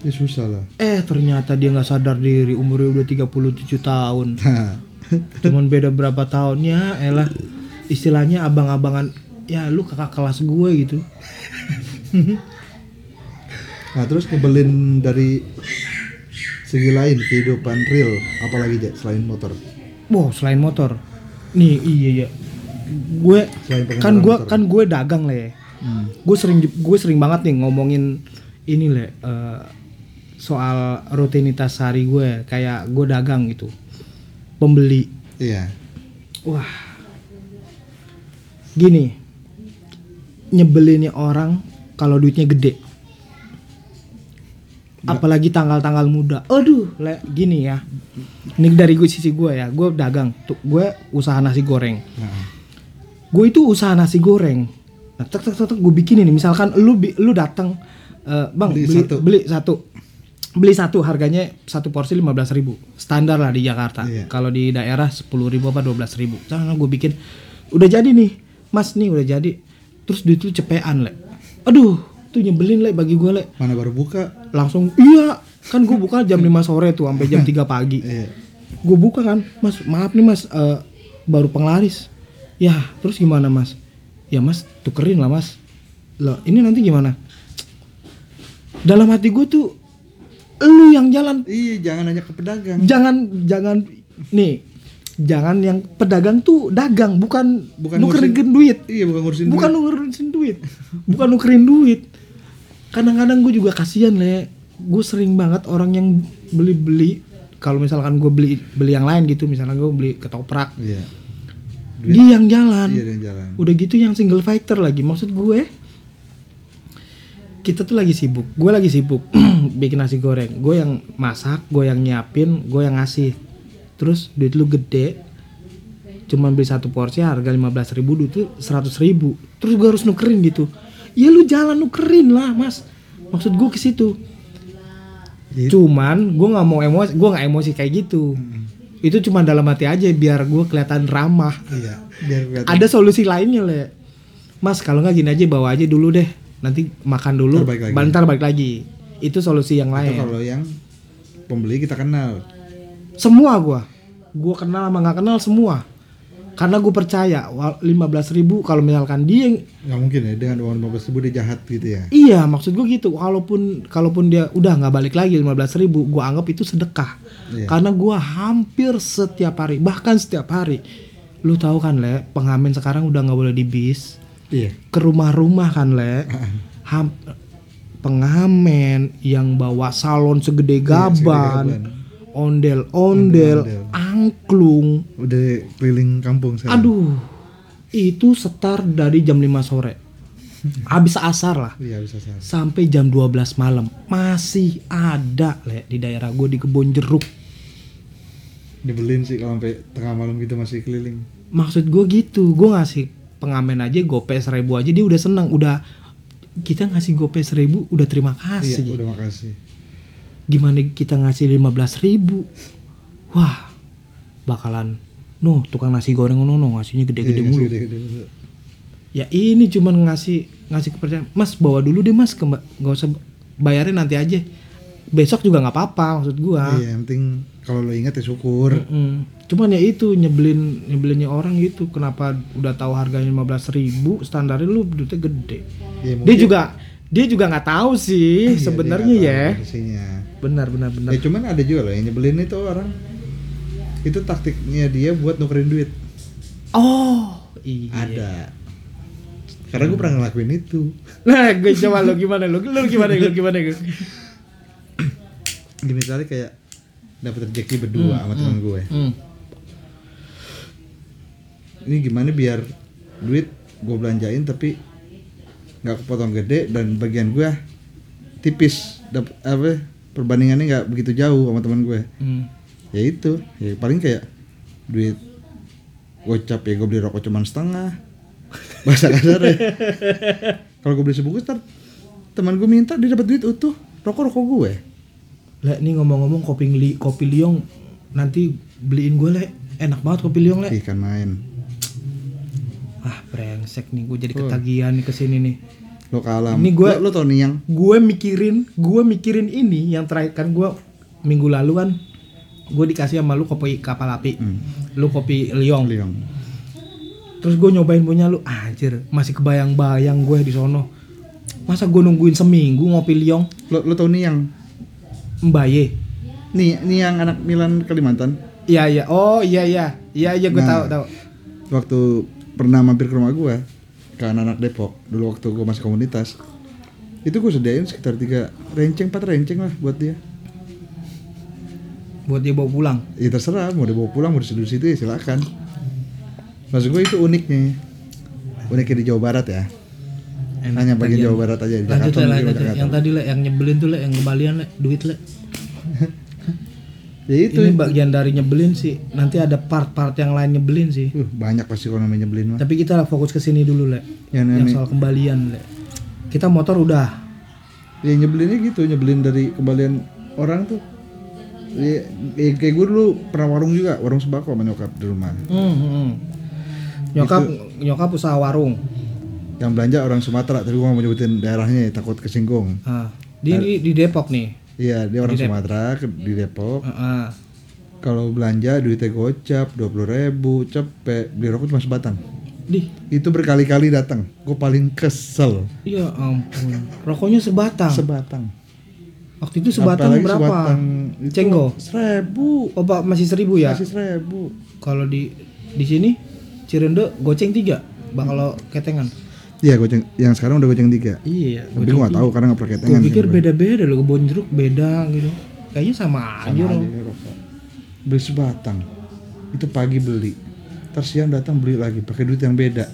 S2: dia susah lah. [LAUGHS]
S1: Eh ternyata dia nggak sadar diri umurnya udah 37 tahun.
S2: [LAUGHS] Nah,
S1: Cuman beda berapa tahunnya, elah istilahnya abang-abangan ya lu kakak kelas gue gitu.
S2: nah terus ngebelin dari segi lain kehidupan real apalagi Jack, selain motor
S1: Wow, selain motor. Nih, iya iya. Gue
S2: Selain pengendara
S1: kan gue
S2: motor. Hmm.
S1: kan gue dagang lah ya. gue sering gue sering banget nih ngomongin ini le eh, soal rutinitas hari gue kayak gue dagang gitu pembeli
S2: Iya.
S1: wah gini nyebelinnya orang kalau duitnya gede apalagi tanggal-tanggal muda aduh le gini ya ini dari gue sisi gue ya gue dagang tuh gue usaha nasi goreng
S2: Nah,
S1: gue itu usaha nasi goreng nah tek tek tek, tek gue bikin ini misalkan lu bi- lu datang eh, bang
S2: Beli
S1: beli,
S2: satu.
S1: beli satu beli satu harganya satu porsi lima belas ribu standar lah di Jakarta
S2: Iya.
S1: kalau di daerah sepuluh ribu apa dua belas ribu sana gue bikin udah jadi nih mas nih udah jadi terus duit lu cepean le aduh tuh nyebelin le bagi gue le
S2: mana baru buka?
S1: langsung iya kan gue buka jam 5 sore tuh sampai jam 3 pagi
S2: Iya.
S1: gue buka kan mas maaf nih mas eh, baru penglaris ya terus gimana mas ya mas tukerin lah mas loh ini nanti gimana dalam hati gue tuh lu yang jalan
S2: Iya, jangan nanya ke pedagang.
S1: jangan jangan nih jangan yang pedagang tuh dagang bukan bukan
S2: Bukan
S1: nukerin duit
S2: Iya, bukan ngurusin
S1: bukan
S2: duit.
S1: nukerin duit bukan nukerin duit kadang-kadang gue juga kasihan le gue sering banget orang yang beli-beli kalau misalkan gue beli beli yang lain gitu misalnya gue beli ketoprak
S2: Iya.
S1: dia yang jalan
S2: Iya, dia yang jalan.
S1: udah gitu yang single fighter lagi maksud gue kita tuh lagi sibuk gue lagi sibuk [CLEARS THROAT] bikin nasi goreng gue yang masak gue yang nyiapin gue yang ngasih terus duit lu gede cuman beli satu porsi harga 15.000 ribu duit lu 100.000 terus gue harus nukerin gitu ya lu jalan nukerin lah mas maksud gue ke situ
S2: Jadi-
S1: cuman gue nggak mau emosi gue nggak emosi kayak gitu itu cuma dalam hati aja biar gue kelihatan ramah
S2: Iya, biar kelihatan
S1: ada solusi lainnya le mas kalau nggak gini aja bawa aja dulu deh nanti makan dulu
S2: Ntar balik lagi.
S1: bentar balik lagi itu solusi yang
S2: Itu
S1: lain
S2: kalau yang pembeli kita kenal.
S1: semua gua gua kenal sama nggak kenal semua karena gue percaya lima belas ribu kalau misalkan dia yang-
S2: nggak mungkin ya dengan uang 15 ribu dia jahat gitu ya
S1: iya maksud gue gitu walaupun kalaupun dia udah nggak balik lagi lima belas ribu gue anggap itu sedekah
S2: Iya.
S1: karena gua hampir setiap hari bahkan setiap hari lu tahu kan le pengamen sekarang udah nggak boleh di bis
S2: iya
S1: ke rumah-rumah kan le Ham- pengamen yang bawa salon Iya, segede gaban ondel-ondel
S2: Ondel-ondel.
S1: angklung
S2: udah keliling kampung saya
S1: aduh itu setar dari jam 5 sore [LAUGHS] habis asar lah
S2: iya bisa salah
S1: sampai jam 12 malam masih ada le di daerah gue di kebon jeruk
S2: dibelin sih kalau sampai tengah malam gitu masih keliling
S1: maksud gue gitu gue ngasih pengamen aja gope seribu aja dia udah seneng udah kita ngasih gope seribu udah terima kasih
S2: iya udah makasih
S1: gimana kita ngasih 15.000 ribu wah bakalan no tukang nasi goreng no, no ngasihnya gede-gede
S2: Iya,
S1: mulu
S2: gede-gede mulu.
S1: ya ini cuman ngasih ngasih kepercayaan mas bawa dulu deh mas ke nggak usah bayarin nanti aja besok juga nggak apa-apa maksud gua
S2: iya yang penting kalau lo ingat ya syukur
S1: Mm. cuman ya itu nyebelin nyebelinnya orang gitu kenapa udah tahu harganya 15.000 ribu standarnya lu duitnya gede dia
S2: Iya, mungkin-
S1: juga dia juga nggak tahu
S2: Iya,
S1: sih
S2: dia
S1: sebenarnya
S2: nggak
S1: ya
S2: tahu kondisinya.
S1: benar benar benar
S2: ya cuman ada juga loh yang nyebelin itu orang itu taktiknya dia buat nukerin duit
S1: oh iya
S2: ada karena gue pernah ngelakuin itu
S1: Nah, gue coba lo gimana lo? Lo gimana lo gimana lo?
S2: Jadi misalnya kayak dapat rezeki berdua sama teman gue
S1: Hmm.
S2: ini gimana biar duit gue belanjain tapi nggak kepotong gede dan bagian gue tipis Dap- apa perbandingannya nggak begitu jauh sama teman gue
S1: Hmm.
S2: ya itu ya paling kayak duit gocap ya gue beli rokok cuman setengah [LAUGHS] bahasa kasar ya kalau gue beli sebungkus ntar teman gue minta dia dapat duit utuh rokok rokok gue
S1: Le, nih ngomong-ngomong kopi li, kopi liong nanti beliin gue le. Enak banget kopi liong le.
S2: ikan kan main
S1: Ah, brengsek nih gue jadi ketagihan nih kesini nih.
S2: lo kalam
S1: Ini gue-
S2: lo, lo tau nih yang
S1: Gue mikirin, gue mikirin ini yang terakhir kan gue minggu lalu kan gue dikasih sama lu kopi kapal api, lu kopi liong.
S2: Liong
S1: Terus gue nyobain punya lu, anjir masih kebayang-bayang gue di sono. Masa gue nungguin seminggu ngopi liong,
S2: lo lo tau nih yang
S1: mbaye.
S2: Nih, nih yang anak Milan Kalimantan
S1: Iya iya. Oh iya iya. Iya iya gue
S2: Nah.
S1: tahu tahu.
S2: waktu pernah mampir ke rumah gua ke anak-anak Depok dulu waktu gue masih komunitas itu gue sediain sekitar tiga renceng empat renceng lah buat dia
S1: buat dia bawa pulang
S2: ya terserah mau dibawa pulang mau diseduh situ ya silakan maksud gue itu uniknya uniknya di Jawa Barat ya hanya bagian Jawa Barat aja di
S3: lanjut
S2: Jakarta
S3: lah lanjut Le.
S2: mungkin di
S3: yang
S2: Jakarta
S3: tadi lah yang nyebelin tuh lah yang kembalian lah duit lah
S2: ya itu
S1: ini bagian dari nyebelin sih nanti ada part-part yang lain nyebelin sih
S2: Uh, banyak pasti kalau namanya nyebelin mah
S1: tapi kita fokus ke sini dulu le
S2: yang
S1: yang
S2: namanya
S1: soal kembalian le kita motor udah
S2: ya nyebelinnya gitu nyebelin dari kembalian orang tuh ya, ya kayak gue dulu pernah warung juga warung sembako sama nyokap di rumah
S1: Hmm, hmm. nyokap nyokap usaha warung
S2: yang belanja orang Sumatera tapi gue gak mau nyebutin daerahnya ya, takut kesinggung
S1: Ah, di, di di Depok nih
S2: iya dia orang Sumatera ke- di Depok
S1: Ah, ah.
S2: kalau belanja duitnya gocap dua puluh ribu cepet beli rokok cuma sebatang
S1: Dih,
S2: itu berkali-kali datang gue paling kesel
S1: ya ampun rokoknya sebatang
S2: sebatang
S1: waktu itu sebatang
S2: Apalagi
S1: berapa
S2: sebatang itu
S1: Cenggo?
S2: seribu
S1: oh pak masih seribu ya
S2: masih seribu
S1: kalau di di sini Cirende goceng tiga bang kalau ketengan
S2: iya goceng yang sekarang udah goceng tiga
S1: iya
S2: tapi gue gak tahu karena gak pernah
S1: gue
S2: ketengan
S1: pikir beda-beda loh kebon jeruk beda gitu kayaknya sama, aja loh
S2: Sama aja Nah, rokok. beli sebatang itu pagi beli terus siang datang beli lagi pakai duit yang beda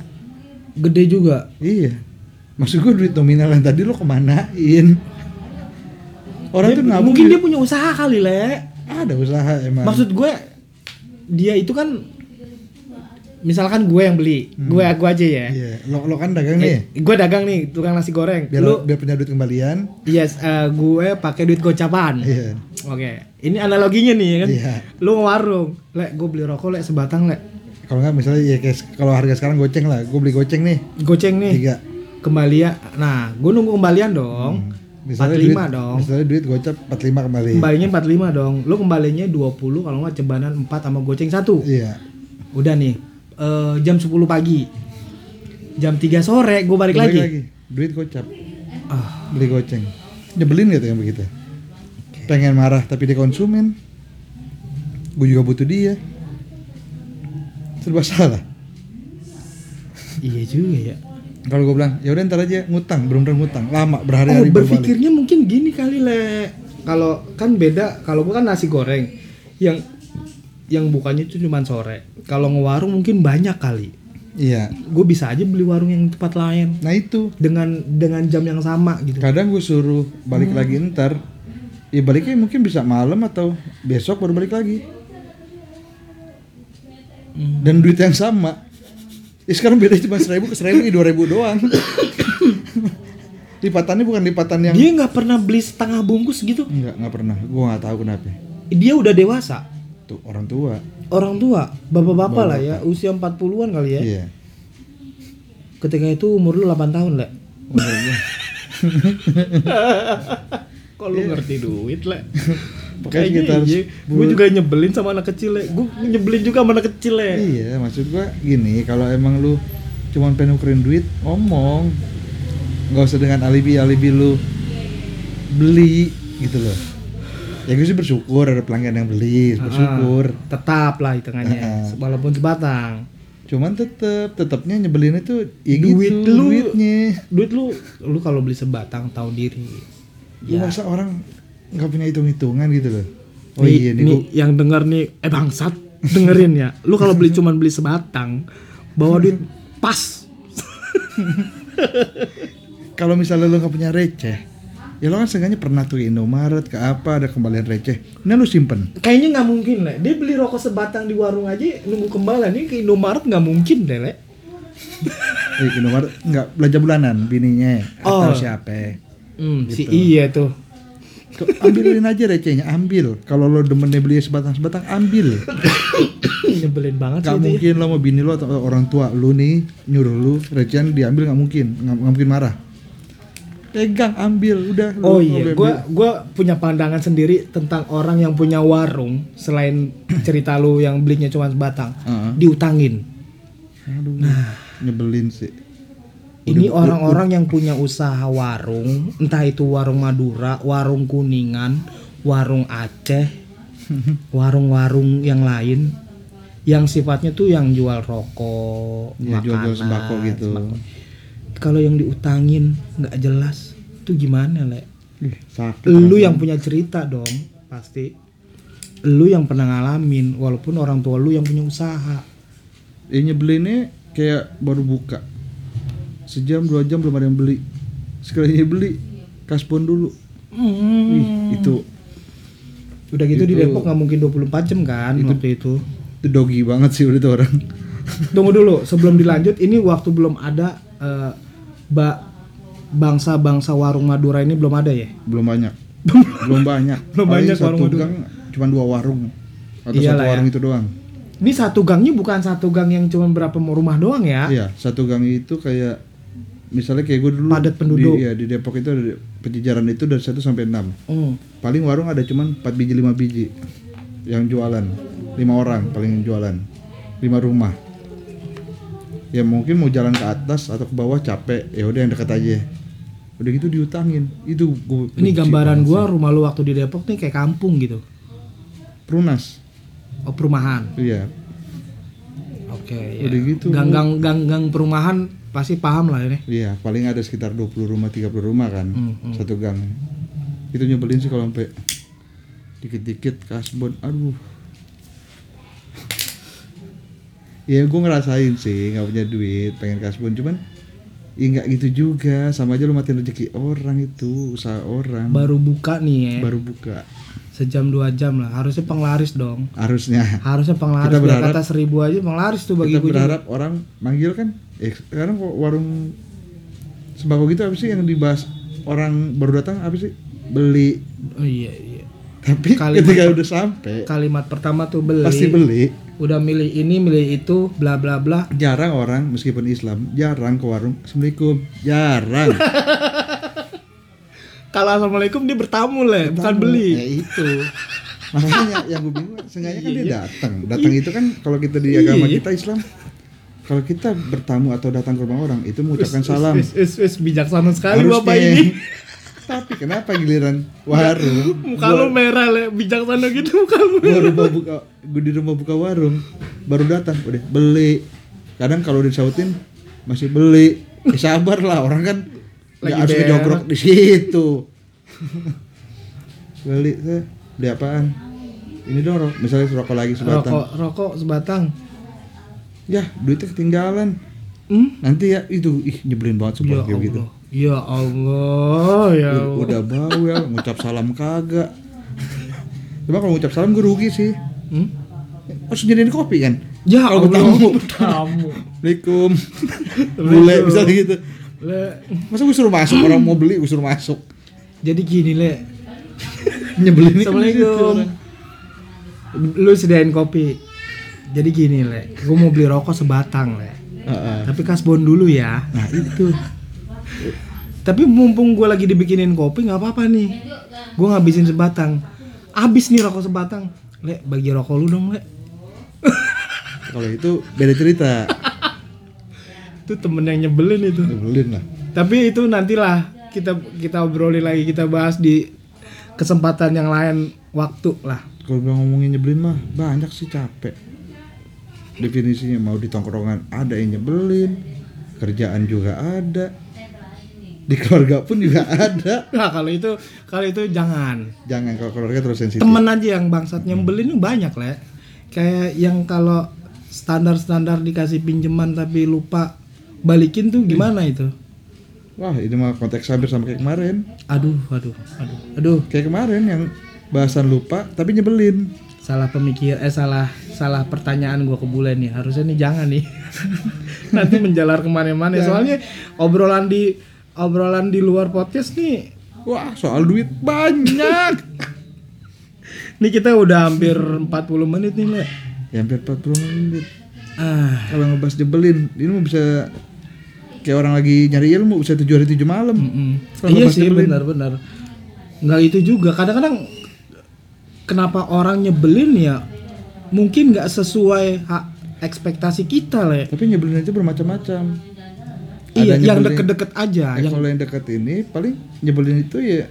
S1: gede juga
S2: iya maksud gue duit nominal yang tadi lo kemanain orang tuh Nah. nabung
S1: mungkin
S2: di-
S1: dia punya usaha kali le
S2: ada usaha emang
S1: maksud gue dia itu kan misalkan gue yang beli gue gue aja ya
S2: Hmm. iya lo, lo kan
S1: Eh,
S2: dagang nih
S1: gue dagang nih tukang nasi goreng
S2: biar
S1: lu
S2: biar punya duit kembalian
S1: yes eh, gue pakai duit gocapan
S2: iya
S1: oke ini analoginya nih ya kan
S2: iya
S1: lu ke warung lek gue beli rokok lek sebatang lek
S2: kalau nggak misalnya ya kayak se- kalau harga sekarang goceng lah gue beli goceng nih
S1: goceng nih
S2: tiga
S1: kembalian nah gue nunggu kembalian dong
S2: Hmm. misalnya
S1: 45
S2: duit,
S1: dong.
S2: misalnya Iya. duit gocap 45 kembali
S1: kembalinya 45 dong lu kembalinya 20 kalau nggak cebanan 4 sama goceng satu
S2: iya
S1: udah nih eh, jam 10 pagi jam 3 sore gue balik, lagi,
S2: duit gocap
S1: Ah,
S2: beli goceng nyebelin gitu yang begitu pengen marah tapi dia konsumen gue juga butuh dia serba salah
S1: iya juga ya
S2: kalau gue bilang ya udah ntar aja ngutang belum pernah ngutang
S1: Oh,
S2: lama berhari-hari baru balik.
S1: berpikirnya mungkin gini kali le. Kalau kan beda, kalau gua kan nasi goreng yang yang bukannya itu cuma sore. Kalau ngewarung mungkin banyak kali.
S2: iya
S1: Gue bisa aja beli warung yang tempat lain
S2: nah itu
S1: dengan dengan jam yang sama gitu.
S2: kadang gue suruh balik lagi ntar ya baliknya mungkin bisa malam atau besok baru balik lagi dan duit yang sama ya sekarang beda cuma seribu ke seribu ya dua ribu doang lipatannya bukan lipatan yang
S1: Dia nggak pernah beli setengah bungkus gitu.
S2: nggak nggak pernah gue nggak tahu kenapa
S1: Dia udah dewasa,
S2: tuh orang tua
S1: orang tua, bapak-bapak lah ya, usia 40-an kali ya.
S2: iya
S1: Ketika itu umur lu 8 tahun, Le.
S2: Umur gua.
S1: [LAUGHS] Kok lu ngerti duit, Le?
S2: Pokoknya sekitar
S1: Gue juga nyebelin sama anak kecil, Le. Gue nyebelin juga sama anak kecil, Le.
S2: iya maksud gue gini kalau emang lu cuman pengen nukerin duit ngomong nggak usah dengan alibi alibi lu beli gitu loh ya gue sih bersyukur ada pelanggan yang beli bersyukur
S1: Ah, tetap lah hitungannya
S2: Ah.
S1: walaupun sebatang
S2: cuman tetep tetepnya nyebelin itu ya
S1: Duit
S2: gitu,
S1: lu.
S2: duitnya
S1: duit lu lu kalau beli sebatang tahu diri
S2: Lu
S1: Ya.
S2: masa orang nggak punya hitung hitungan gitu loh oh
S1: Nih-
S2: iya nih
S1: nih
S2: gua-
S1: yang denger nih eh bangsat dengerin ya lu kalau beli cuman beli sebatang bawa duit pas
S2: kalau misalnya lu nggak punya receh ya lo kan seenggaknya pernah tuh Indomaret ke apa ada kembalian receh nah lu simpen
S1: kayaknya nggak mungkin le dia beli rokok sebatang di warung aja nunggu kembalian ini ke Indomaret nggak mungkin deh le
S2: eh, Indomaret nggak belanja bulanan bininya
S1: Oh.
S2: atau siapa
S1: hmm, si iya tuh
S2: Ke- ambilin aja recehnya ambil kalau lo demennya beli sebatang sebatang
S1: [LAUGHS]
S2: ambil
S1: [COUGHS] nyebelin banget sih
S2: nggak
S1: itu ya.
S2: mungkin lo mau bini lo atau orang tua lo nih nyuruh lo recehan diambil nggak mungkin nggak nggak mungkin marah pegang ambil udah lo
S1: Oh
S2: mau
S1: iya,
S2: beli-
S1: gua gua punya pandangan sendiri tentang orang yang punya warung selain cerita lu yang belinya cuma sebatang,
S2: Heeh.
S1: diutangin.
S2: aduh
S1: Nah.
S2: nyebelin sih
S1: Ini orang-orang yang punya usaha warung, entah itu warung Madura, warung Kuningan, warung
S2: [LAUGHS]
S1: Aceh, warung-warung yang lain yang sifatnya tuh yang jual rokok,
S2: ya jual
S1: makanan,
S2: jual sembako gitu
S1: sembako. kalau yang diutangin nggak jelas itu gimana le
S2: Ih, sakit.
S1: lu yang punya cerita dong pasti lu yang pernah ngalamin walaupun orang tua lu yang punya usaha
S2: Ini nyebelinnya kayak baru buka. Sejam dua jam belum ada yang beli. Sekalinya beli kaspon dulu.
S1: Hmm.
S2: Ih, itu
S1: udah gitu di
S2: Itu-
S1: Depok nggak mungkin 24 jam kan waktu itu
S2: itu dogi banget sih udah tuh orang.
S1: tunggu dulu sebelum dilanjut ini waktu belum ada eh, ba- bangsa-bangsa warung Madura ini belum ada ya
S2: Belum banyak. belum banyak.
S1: [LAUGHS] Belum
S2: Paling
S1: banyak
S2: satu
S1: warung-warung.
S2: gang cuma dua warung atau
S1: Iyalah
S2: satu warung
S1: ya.
S2: itu doang.
S1: ini satu gangnya bukan satu gang yang cuma berapa rumah doang ya
S2: Iya, satu gang itu kayak misalnya kayak gue dulu
S1: Padat penduduk.
S2: Di, iya, di Depok itu ada penjejaran itu dari 1 sampai 6.
S1: Hmm.
S2: Paling warung ada cuman 4 biji 5 biji yang jualan. 5 orang paling yang jualan. 5 rumah. Ya mungkin mau jalan ke atas atau ke bawah capek, ya udah yang dekat aja. Udah gitu diutangin. Itu gue
S1: ini
S2: benci
S1: gambaran
S2: banget
S1: gua rumah lu waktu di Depok nih kayak kampung gitu
S2: sih. Perunas.
S1: oh perumahan
S2: Iya.
S1: oke
S2: Udah gitu.
S1: gang-gang gang-gang perumahan pasti paham lah ini
S2: Iya, paling ada sekitar 20 rumah, 30 rumah kan.
S1: Hmm,
S2: Satu gang. Itu nyebelin sih kalau sampai dikit-dikit kasbon. Aduh. [LAUGHS] ya gue ngerasain sih nggak punya duit pengen kasbon cuman ya nggak gitu juga sama aja lu matiin rezeki orang itu usaha orang
S1: baru buka nih ya
S2: baru buka
S1: sejam dua jam lah harusnya penglaris dong
S2: harusnya
S1: harusnya penglaris
S2: Kita
S1: biar
S2: berharap-
S1: kata seribu aja penglaris tuh [LAUGHS] bagi
S2: kita
S1: gue
S2: berharap orang manggil kan eh sekarang kok warung sembako gitu apa sih yang dibahas orang baru datang apa sih beli
S1: oh iya iya
S2: tapi
S1: Kalimat-
S2: ketika udah sampai
S1: kalimat pertama tuh beli,
S2: pasti beli
S1: udah milih ini milih itu bla bla bla
S2: jarang orang meskipun Islam jarang ke warung assalamualaikum
S1: [LAUGHS]
S2: jarang
S1: kalau assalamualaikum dia bertamu le bukan beli
S2: ya itu makanya yang gue bingung seenggaknya kan dia datang datang itu kan kalau kita di agama
S1: Iya.
S2: kita Islam kalau kita bertamu atau datang ke rumah orang itu mengucapkan salam
S1: Wis, wis, wis, bijaksana sekali
S2: Harusnya.
S1: bapak ini
S2: [LAUGHS] tapi kenapa giliran warung
S1: muka lu merah le bijaksana gitu muka lu
S2: gua rumah buka gua di rumah buka warung baru datang udah beli kadang kalau udah disautin masih beli Ya sabar lah orang kan
S1: Lagi
S2: nggak harus
S1: berak.
S2: ngejogrok di situ beli tuh beli apaan ini dong rokok misalnya rokok lagi
S1: rokok
S2: sebatang
S1: rokok sebatang
S2: ya duitnya ketinggalan
S1: hmm?
S2: nanti ya itu ih nyebelin
S1: ya
S2: banget sumpah kayak
S1: Allah
S2: gitu
S1: ya Allah ya Allah
S2: udah bawel ngucap salam kagak cuma kalau ngucap salam gue rugi sih
S1: Hmm?
S2: harus nyediain kopi kan
S1: ya
S2: Kalau
S1: Allah [LAUGHS]
S2: bertamu.
S1: bertamu
S2: [LAUGHS] Assalamualaikum. Bule bisa gitu.
S1: le
S2: Masa gue suruh masuk orang mau beli gue suruh masuk.
S1: jadi gini le
S2: [LAUGHS] Nyebelin ini kan gitu
S1: Assalamualaikum lu
S2: orang.
S1: sediain kopi jadi gini le gue mau beli rokok sebatang le
S2: Heeh.
S1: Tapi kasbon dulu ya.
S2: Nah, itu.
S1: Tapi mumpung gue lagi dibikinin kopi nggak apa-apa nih. Gue ngabisin sebatang. Abis nih rokok sebatang. Le, bagi rokok lu dong, Le.
S2: Kalau itu beda cerita.
S1: Itu temen yang nyebelin itu.
S2: Nyebelin lah.
S1: Tapi itu nantilah kita kita obrolin lagi, kita bahas di kesempatan yang lain waktu lah.
S2: Kalau gua ngomongin nyebelin mah banyak sih capek. Definisinya mau di tongkrongan ada yang nyebelin, kerjaan juga ada. Di keluarga pun juga [LAUGHS] ada.
S1: Nah, kalau itu kalau itu jangan.
S2: Jangan kalau keluarga terus sensitif.
S1: Temen aja yang bangsat nyebelin itu banyak, Le. Kayak yang kalau standar-standar dikasih pinjeman tapi lupa balikin tuh gimana itu?
S2: Wah, ini mah konteks hampir sama kayak kemarin.
S1: Aduh, aduh, aduh, aduh.
S2: Kayak kemarin yang bahasan lupa tapi nyebelin.
S1: Salah pemikir, eh salah, salah pertanyaan gua ke Bule nih. Harusnya nih jangan nih. [LAUGHS] Nanti menjalar kemana-mana. Soalnya obrolan di obrolan di luar podcast nih.
S2: Wah, soal duit banyak.
S1: Nih kita udah hampir 40 menit nih, Le.
S2: Ya, hampir 40 menit.
S1: Ah,
S2: Kalau ngebahas jebelin, ini mau bisa kayak orang lagi nyari ilmu bisa tujuh hari tujuh malam.
S1: mm.
S2: Kalau
S1: Iya
S2: ngebahas
S1: sih,
S2: nyebelin.
S1: benar-benar. Nggak itu juga. Kadang-kadang kenapa orang nyebelin ya? Mungkin nggak sesuai ha- ekspektasi kita, Le.
S2: Tapi nyebelin itu bermacam-macam.
S1: Iya,
S2: Ada
S1: yang
S2: nyebelin-
S1: deket-deket aja,
S2: Ya,
S1: yang
S2: Kalau yang dekat ini paling nyebelin itu ya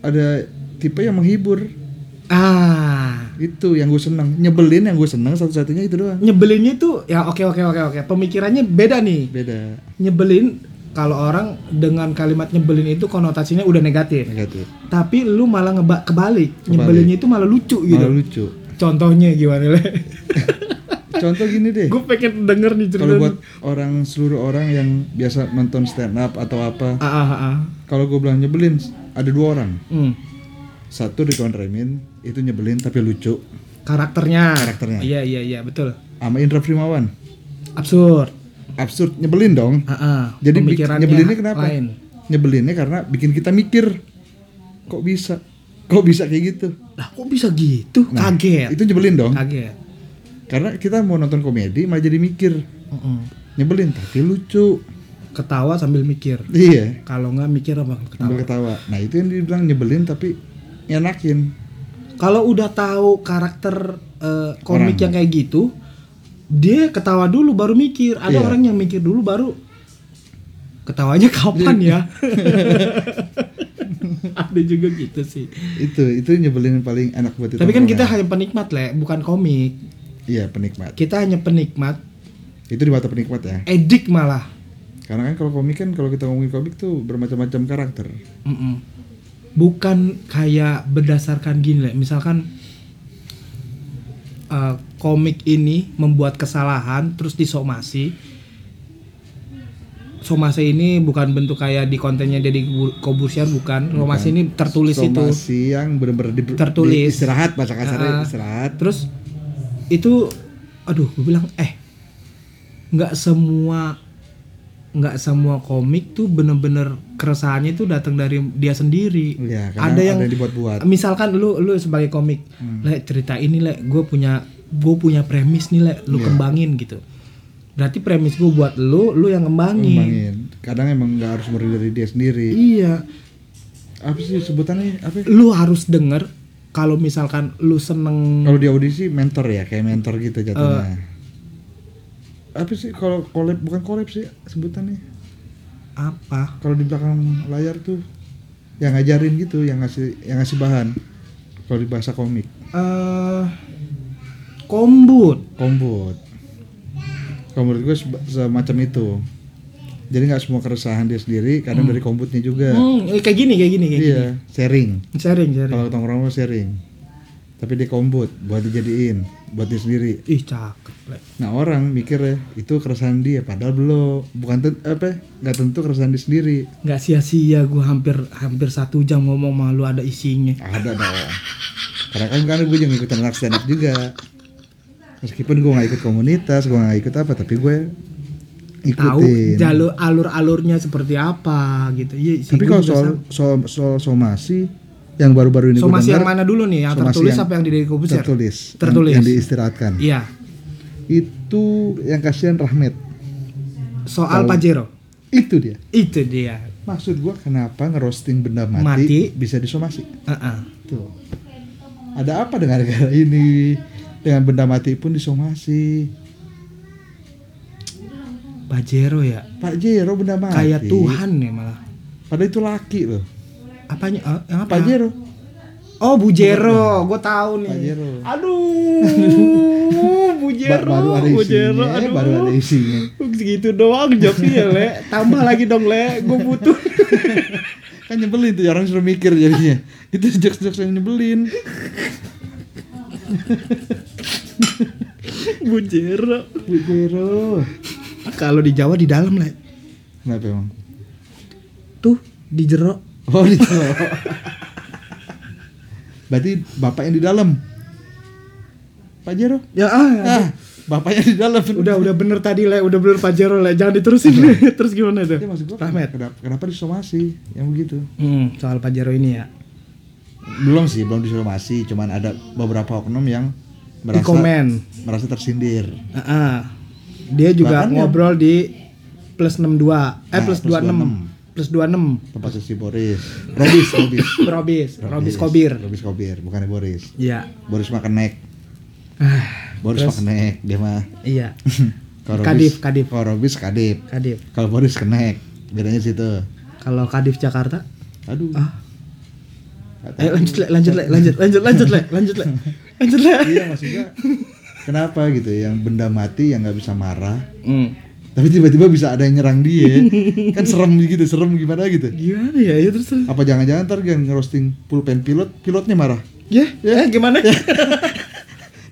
S2: ada tipe yang menghibur.
S1: ah.
S2: Itu yang gue seneng. Nyebelin yang gue seneng satu-satunya itu doang.
S1: nyebelinnya tuh ya oke oke oke oke pemikirannya beda nih
S2: Beda.
S1: nyebelin kalau orang dengan kalimat nyebelin itu konotasinya udah negatif
S2: negatif
S1: tapi lu malah ngeba kebalik, nyebelinnya itu malah lucu gitu
S2: malah lucu
S1: contohnya gimana
S2: [LAUGHS]
S1: le
S2: contoh gini deh
S1: gue pengen denger nih cerita
S2: kalau buat orang seluruh orang yang biasa nonton stand up atau apa
S1: ah, ah, ah.
S2: kalau gue bilang nyebelin ada dua orang
S1: Hmm.
S2: satu Ridwan Remin itu nyebelin tapi lucu
S1: karakternya
S2: Karakternya.
S1: iya iya iya betul
S2: sama Indra Primawan
S1: absurd
S2: absurd nyebelin dong
S1: Ah, ah.
S2: jadi bi-
S1: Pemikirannya
S2: nyebelinnya kenapa
S1: lain.
S2: nyebelinnya karena bikin kita mikir kok bisa kok bisa kayak gitu
S1: lah kok bisa gitu kaget
S2: Nah, itu nyebelin dong
S1: kaget
S2: karena kita mau nonton komedi malah jadi mikir
S1: Mm-mm.
S2: nyebelin tapi lucu
S1: ketawa sambil mikir
S2: iya
S1: kalau nggak mikir apa ketawa
S2: sambil ketawa nah itu yang dibilang nyebelin tapi nyenakin
S1: kalau udah tahu karakter eh, komik yang kayak gitu dia ketawa dulu baru mikir ada
S2: Iya.
S1: orang yang mikir dulu baru ketawanya kapan
S2: [LAUGHS]
S1: ya ada juga gitu sih
S2: itu itu nyebelin yang paling enak buat
S1: tapi kan
S2: ditongkrongan.
S1: kita hanya penikmat le bukan komik
S2: iya penikmat
S1: kita hanya penikmat
S2: itu di mata penikmat ya
S1: edik malah
S2: karena kan kalau komik kan kalau kita ngomongin komik tuh bermacam-macam karakter
S1: Mm-mm. bukan kayak berdasarkan gini Le. misalkan eh, komik ini membuat kesalahan terus disomasi somasi ini bukan bentuk kayak di kontennya jadi Kobusier bukan somasi ini tertulis itu
S2: somasi yang benar-benar di,
S1: Tertulis.
S2: di- istirahat bahasa kasarnya
S1: Ah.
S2: istirahat
S1: terus itu aduh gue bilang eh nggak semua nggak semua komik tuh bener-bener keresahannya itu datang dari dia sendiri
S2: Iya, karena
S1: ada yang
S2: ada yang dibuat-buat. Hmm.
S1: misalkan lu lu sebagai komik le cerita ini le gue punya gue punya premis nih le
S2: Iya.
S1: lu kembangin gitu berarti premis gue buat lu lu yang kembangin,
S2: ngembangin kadang emang nggak harus murni dari dia sendiri
S1: iya
S2: apa sih sebutannya apa ya?
S1: lu harus denger kalau misalkan lu seneng
S2: kalau di audisi mentor ya kayak mentor gitu jatuhnya apa sih kalau collab bukan collab sih sebutannya
S1: apa
S2: kalau di belakang layar tuh yang ngajarin gitu yang ngasih yang ngasih bahan kalau di bahasa komik
S1: eh kombut
S2: kombut kalau menurut gue seba- semacam itu jadi nggak semua keresahan dia sendiri kadang dari kombutnya juga
S1: Hmm, kayak gini, kayak gini, kayak
S2: iya sharing
S1: gini. Sharing, sharing.
S2: kalau tongkrong mah sharing tapi dia kombut buat dijadiin buat dia sendiri
S1: Ih, cakep. Le.
S2: Nah orang mikir ya itu keresahan dia padahal belum bukan ten- apa nggak tentu keresahan dia sendiri
S1: Nggak sia-sia gue hampir hampir satu jam ngomong malu ada isinya.
S2: ada dong karena kan kan gue juga ikutan anak stand up juga meskipun gue nggak ikut komunitas gue nggak ikut apa tapi gue
S1: Tahu
S2: ikutin
S1: jalur alur-alurnya seperti apa gitu. Iya, sih,
S2: tapi
S1: gua
S2: kalau
S1: juga
S2: soal,
S1: sama.
S2: soal soal somasi yang baru-baru ini gue
S1: somasi yang
S2: dengar
S1: mana dulu nih, yang
S2: somasi
S1: tertulis
S2: yang
S1: apa yang di Deddy Corbuzier?
S2: tertulis yang-
S1: Tertulis.
S2: yang, diistirahatkan
S1: Iya.
S2: itu yang kasihan Rahmat
S1: Soal Pajero.
S2: itu dia
S1: Itu dia.
S2: maksud gue kenapa ngerosting benda mati,
S1: Mati.
S2: bisa disomasi
S1: Heeh.
S2: Tuh. Ada apa dengan negara ini? Dengan benda mati pun disomasi.
S1: Pajero ya.
S2: Pak Jero benda mati.
S1: Kayak Tuhan ya malah.
S2: Padahal itu laki loh.
S1: Apanya? eh, yang apa?
S2: Pak Jero.
S1: Oh, Bujero, gue tahu nih.
S2: Pajero.
S1: Aduh,
S2: [LAUGHS] Ba-
S1: Bujero,
S2: baru ada
S1: Bujero,
S2: isinya,
S1: aduh.
S2: baru ada isinya.
S1: Segitu doang joknya le, tambah lagi dong le, gue butuh. [LAUGHS]
S2: Kan nyebelin tuh orang suruh mikir jadinya. itu jokes-jokes yang nyebelin.
S1: Bujero.
S2: Pak Jero.
S1: Kalau di Jawa di dalam le,
S2: Kenapa emang?
S1: tuh di jero.
S2: Oh, di dalam. Berarti bapak yang di dalam. Pak Jero.
S1: Ya ah, ya.
S2: Ah, bapaknya di dalam.
S1: udah udah bener tadi le, udah bener Pak Jero le, jangan diterusin le. Terus gimana
S2: Ya,
S1: tuh?
S2: maksud gua,
S1: Rahmat.
S2: Kenapa, kenapa disomasi yang begitu?
S1: Hmm, soal Pak Jero ini ya.
S2: belum sih belum disomasi cuman ada beberapa oknum yang merasa
S1: Dikomen.
S2: merasa tersindir
S1: Ah, ah. Dia juga
S2: Bahkan ya-
S1: ngobrol di plus 62, eh
S2: Nah,
S1: plus
S2: plus
S1: 26, plus 26.
S2: tempat susi Boris Robis Robis
S1: Robis, Robis Kobir.
S2: Robis Kobir bukan Boris
S1: Iya. [SIGHS]
S2: Boris mah kenek
S1: Ah,
S2: Boris mah kenek dia mah
S1: iya.
S2: Kalau
S1: Kadif,
S2: Robis-
S1: Kadif.
S2: kalau Robis kadif
S1: Kadif.
S2: kalau Boris kenek bedanya situ
S1: Kalau Kadif Jakarta,
S2: aduh
S1: ah.
S2: Nggak tahu.
S1: Ayo lanjut le, lanjut le, lanjut, lanjut, lanjut le, lanjut le, lanjut le. Hmm.
S2: iya maksudnya kenapa gitu yang benda mati yang nggak bisa marah tapi tiba-tiba bisa ada yang nyerang dia kan serem gitu serem gimana gitu
S1: Gimana ya? Ya terus terus.
S2: apa jangan-jangan ntar yang ngerosting pulpen pilot pilotnya marah
S1: Ya, ya gimana?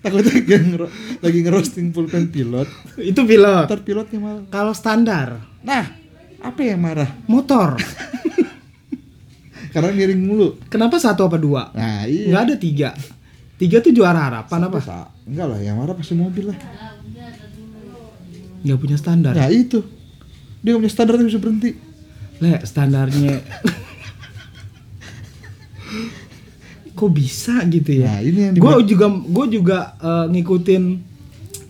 S2: takutnya yang ngero- lagi ngerosting pulpen pilot
S1: [LAUGHS] Itu pilot.
S2: ntar pilotnya marah
S1: Kalau standar
S2: nah apa yang marah
S1: motor,
S2: karena miring mulu
S1: [LAUGHS] kenapa satu apa dua?
S2: nah
S1: Nggak
S2: iya
S1: ada tiga. Tiga tuh juara harapan apa?
S2: Sa- enggak lah yang marah pasti mobil lah
S1: Nggak punya standar.
S2: nah itu dia nggak punya standar dia bisa berhenti
S1: Le, [LAUGHS] standarnya. Kok bisa gitu ya?
S2: Nah, ini yang
S1: gue juga gue juga eh, ngikutin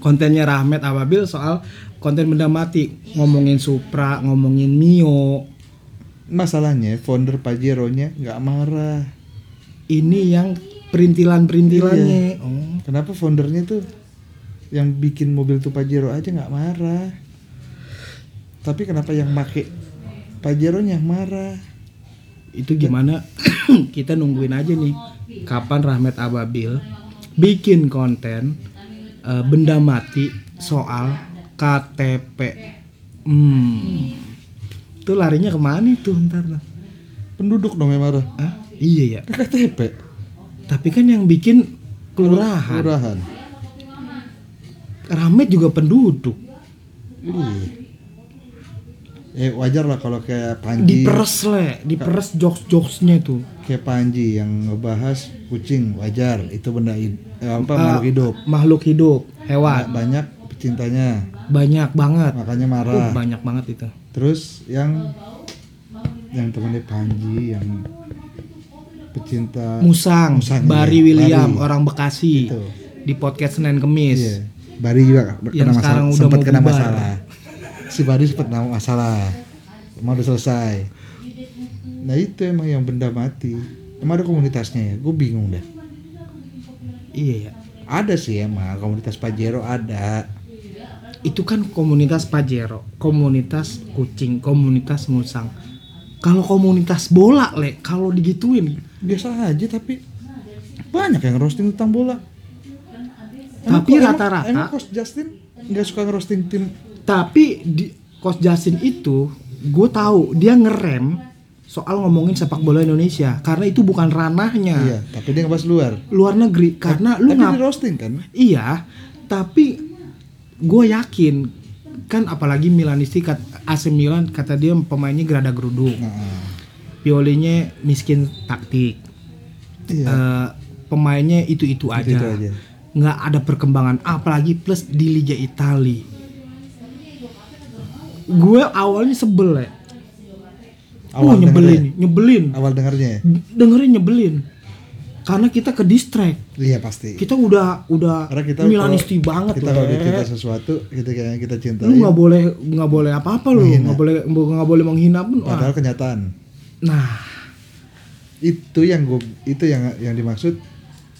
S1: kontennya Rahmat Ababil soal konten benda mati ngomongin Supra ngomongin Mio
S2: masalahnya founder Pajero nya nggak marah
S1: ini yang perintilan perintilannya oh.
S2: kenapa foundernya tuh yang bikin mobil tuh Pajero aja nggak marah tapi kenapa yang make Pajero nya yang marah
S1: itu gimana [COUGHS] kita nungguin aja nih kapan Rahmat Ababil bikin konten eh, benda mati soal KTP hmm itu larinya kemana itu ntar lah
S2: penduduk dong yang marah
S1: Hah? iya ya
S2: Ke KTP
S1: tapi kan yang bikin kelurahan
S2: kelurahan
S1: Rahmat juga penduduk
S2: Ih. eh wajar lah kalau kayak Panji
S1: diperes le diperes jokes jokesnya tuh
S2: kayak Panji yang ngebahas kucing wajar itu benda hid- eh, apa
S1: Ah,
S2: makhluk hidup
S1: makhluk hidup hewan
S2: banyak pecintanya
S1: banyak banget
S2: makanya
S1: Uh,
S2: marah
S1: banyak banget itu
S2: Terus yang yang temannya Panji yang pecinta
S1: Musang,
S2: Musang,
S1: Bari
S2: iya,
S1: William
S2: Bari.
S1: orang Bekasi
S2: Itu.
S1: di podcast Senin Kemis
S2: Iya. Bari juga kena
S1: Yang
S2: masalah,
S1: sekarang udah
S2: sempat
S1: mau
S2: kena
S1: bubar.
S2: masalah. Si Bari sempat kena masalah. Emang udah selesai. Nah itu emang yang benda mati. Emang ada komunitasnya ya? Gue bingung deh.
S1: iya ya
S2: Ada sih emang komunitas Pajero ada.
S1: itu kan komunitas Pajero komunitas kucing komunitas musang kalau komunitas bola le kalau digituin
S2: Biasa aja tapi banyak yang roasting tentang bola.
S1: Tapi
S2: kok-
S1: rata-rata- Nah.
S2: Emang Coach Justin nggak suka ngerosting tim
S1: tapi di Coach Justin itu gue tahu dia ngerem soal ngomongin sepak bola Indonesia karena itu bukan ranahnya
S2: Iya, tapi dia ngebahas luar.
S1: luar negeri karena lu
S2: tapi
S1: ngap
S2: di roasting kan?
S1: Iya, tapi gue yakin kan apalagi Milanisti kat- AC Milan kata dia pemainnya gerada geruduk,
S2: Nah,
S1: Piolinya miskin taktik,
S2: iya.
S1: Eh, pemainnya itu itu aja,
S2: Itu-itu aja.
S1: nggak ada perkembangan, apalagi plus di Liga Italia. Gue awalnya sebel ya, Wah,
S2: awal ya?
S1: nyebelin,
S2: dengernya.
S1: nyebelin,
S2: Awal dengarnya ya?
S1: dengerin nyebelin, karena kita ke distract,
S2: Iya pasti.
S1: kita udah udah
S2: Karena kita
S1: Milanisti
S2: kalau-
S1: banget
S2: Kita
S1: loh.
S2: kalau dicinta sesuatu, kita kayak yang kita cintai.
S1: lu nggak boleh nggak boleh apa-apa lu
S2: Menghina.
S1: nggak boleh nggak boleh menghina pun ah.
S2: Padahal kenyataan.
S1: nah
S2: Itu yang gua itu yang yang dimaksud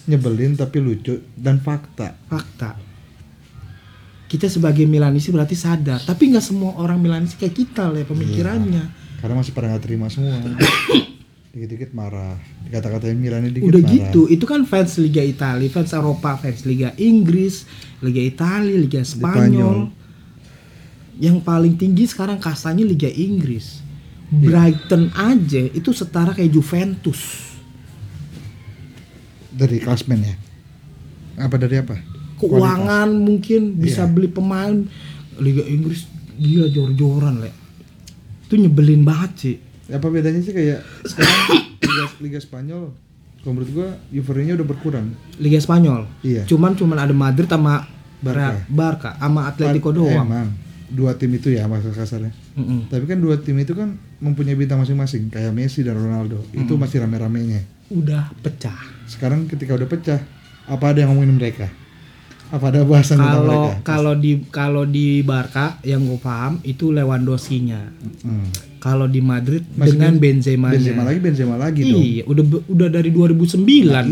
S2: nyebelin tapi lucu dan fakta.
S1: fakta kita sebagai Milanisi berarti sadar tapi nggak semua orang Milanisi kayak kita lah ya, pemikirannya
S2: Karena masih pada nggak terima
S1: [COUGHS]
S2: semua. Dikit-dikit marah. Kata-katain Milani dikit
S1: udah
S2: marah.
S1: gitu itu kan fans Liga Italia fans Eropa fans Liga Inggris Liga Italia Liga Spanyol yang paling tinggi sekarang kastanya Liga Inggris Iya. Brighton aja itu setara kayak Juventus
S2: Dari klasmen ya. Apa dari apa?
S1: keuangan mungkin bisa beli pemain Liga Inggris dia jor-joran le itu nyebelin banget sih
S2: apa bedanya sih kayak sekarang [COUGHS] Liga, Liga Spanyol kalau menurut gua euforianya udah berkurang
S1: Liga Spanyol
S2: Iya.
S1: cuman cuman ada Madrid sama
S2: Barca.
S1: Barca Barca sama
S2: eh,
S1: Atletico doang
S2: emang dua tim itu ya masa kasarnya
S1: Mm-mm.
S2: tapi kan dua tim itu kan mempunyai bintang masing-masing kayak Messi dan Ronaldo itu
S1: Hmm.
S2: masih rame-ramenya
S1: udah pecah
S2: sekarang ketika udah pecah apa ada yang ngomongin mereka apa ada bahasan tentang
S1: kalau
S2: mereka
S1: kalau di kalau di Barca yang gue paham itu Lewandowski-nya
S2: Hmm.
S1: kalau di Madrid
S2: Masih
S1: dengan
S2: Ben-
S1: Benzema-nya
S2: Benzema lagi Benzema lagi dong
S1: iya udah be- udah dari 2009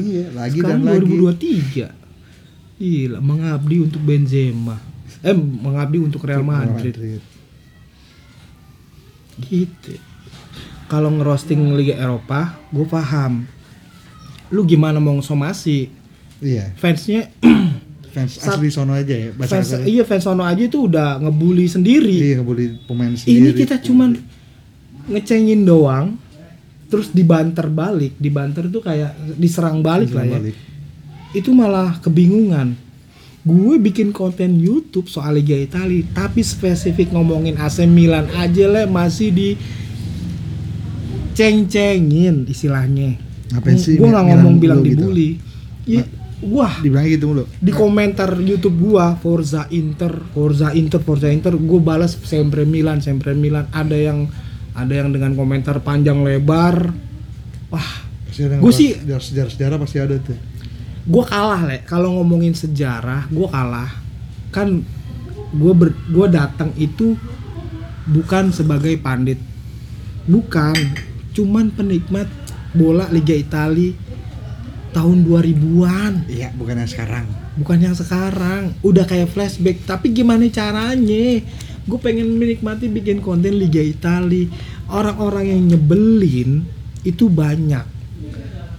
S2: iya lagi
S1: Sekarang
S2: dan lagi
S1: 2023. Gila, mengabdi untuk Benzema. Eh, mengabdi untuk Real Madrid. Gitu. Kalau ngerosting Liga Eropa, gue paham. Lu gimana mau somasi?
S2: iya
S1: Fansnya [CLEARS THROAT]
S2: fans
S1: Sat-
S2: asli sono aja ya bahasa
S1: fans,
S2: kasarnya.
S1: iya fans sono aja itu udah ngebully sendiri
S2: Iya nggak boleh pemain sendiri.
S1: ini kita cuman ngecengin doang terus dibanter balik dibanter tuh kayak diserang balik lah ya
S2: Balik.
S1: itu malah kebingungan gue bikin konten YouTube soal Liga Italia tapi spesifik ngomongin AC Milan aja lah masih di ceng-cengin istilahnya
S2: Ngapain sih
S1: gue nggak
S2: Milan
S1: ngomong
S2: dulu
S1: bilang
S2: gitu?
S1: dibully ya, wah
S2: Dibilang gitu mulu.
S1: di komentar YouTube gua Forza Inter, Forza Inter, Forza Inter, gua balas sempre Milan, sempre Milan. Ada yang ada yang dengan komentar panjang lebar. Wah,
S2: Pasti ada
S1: Gua
S2: ngebahas
S1: sih-
S2: sejarah sejarah pasti ada tuh.
S1: gua kalah, Le. Kalau ngomongin sejarah, gua kalah. Kan gua ber, gua datang itu bukan sebagai pandit. Bukan, cuman penikmat bola Liga Italia tahun 2000-an.
S2: Iya bukan yang sekarang.
S1: bukan yang sekarang udah kayak flashback tapi gimana caranya gue pengen menikmati bikin konten Liga Itali orang-orang yang nyebelin itu banyak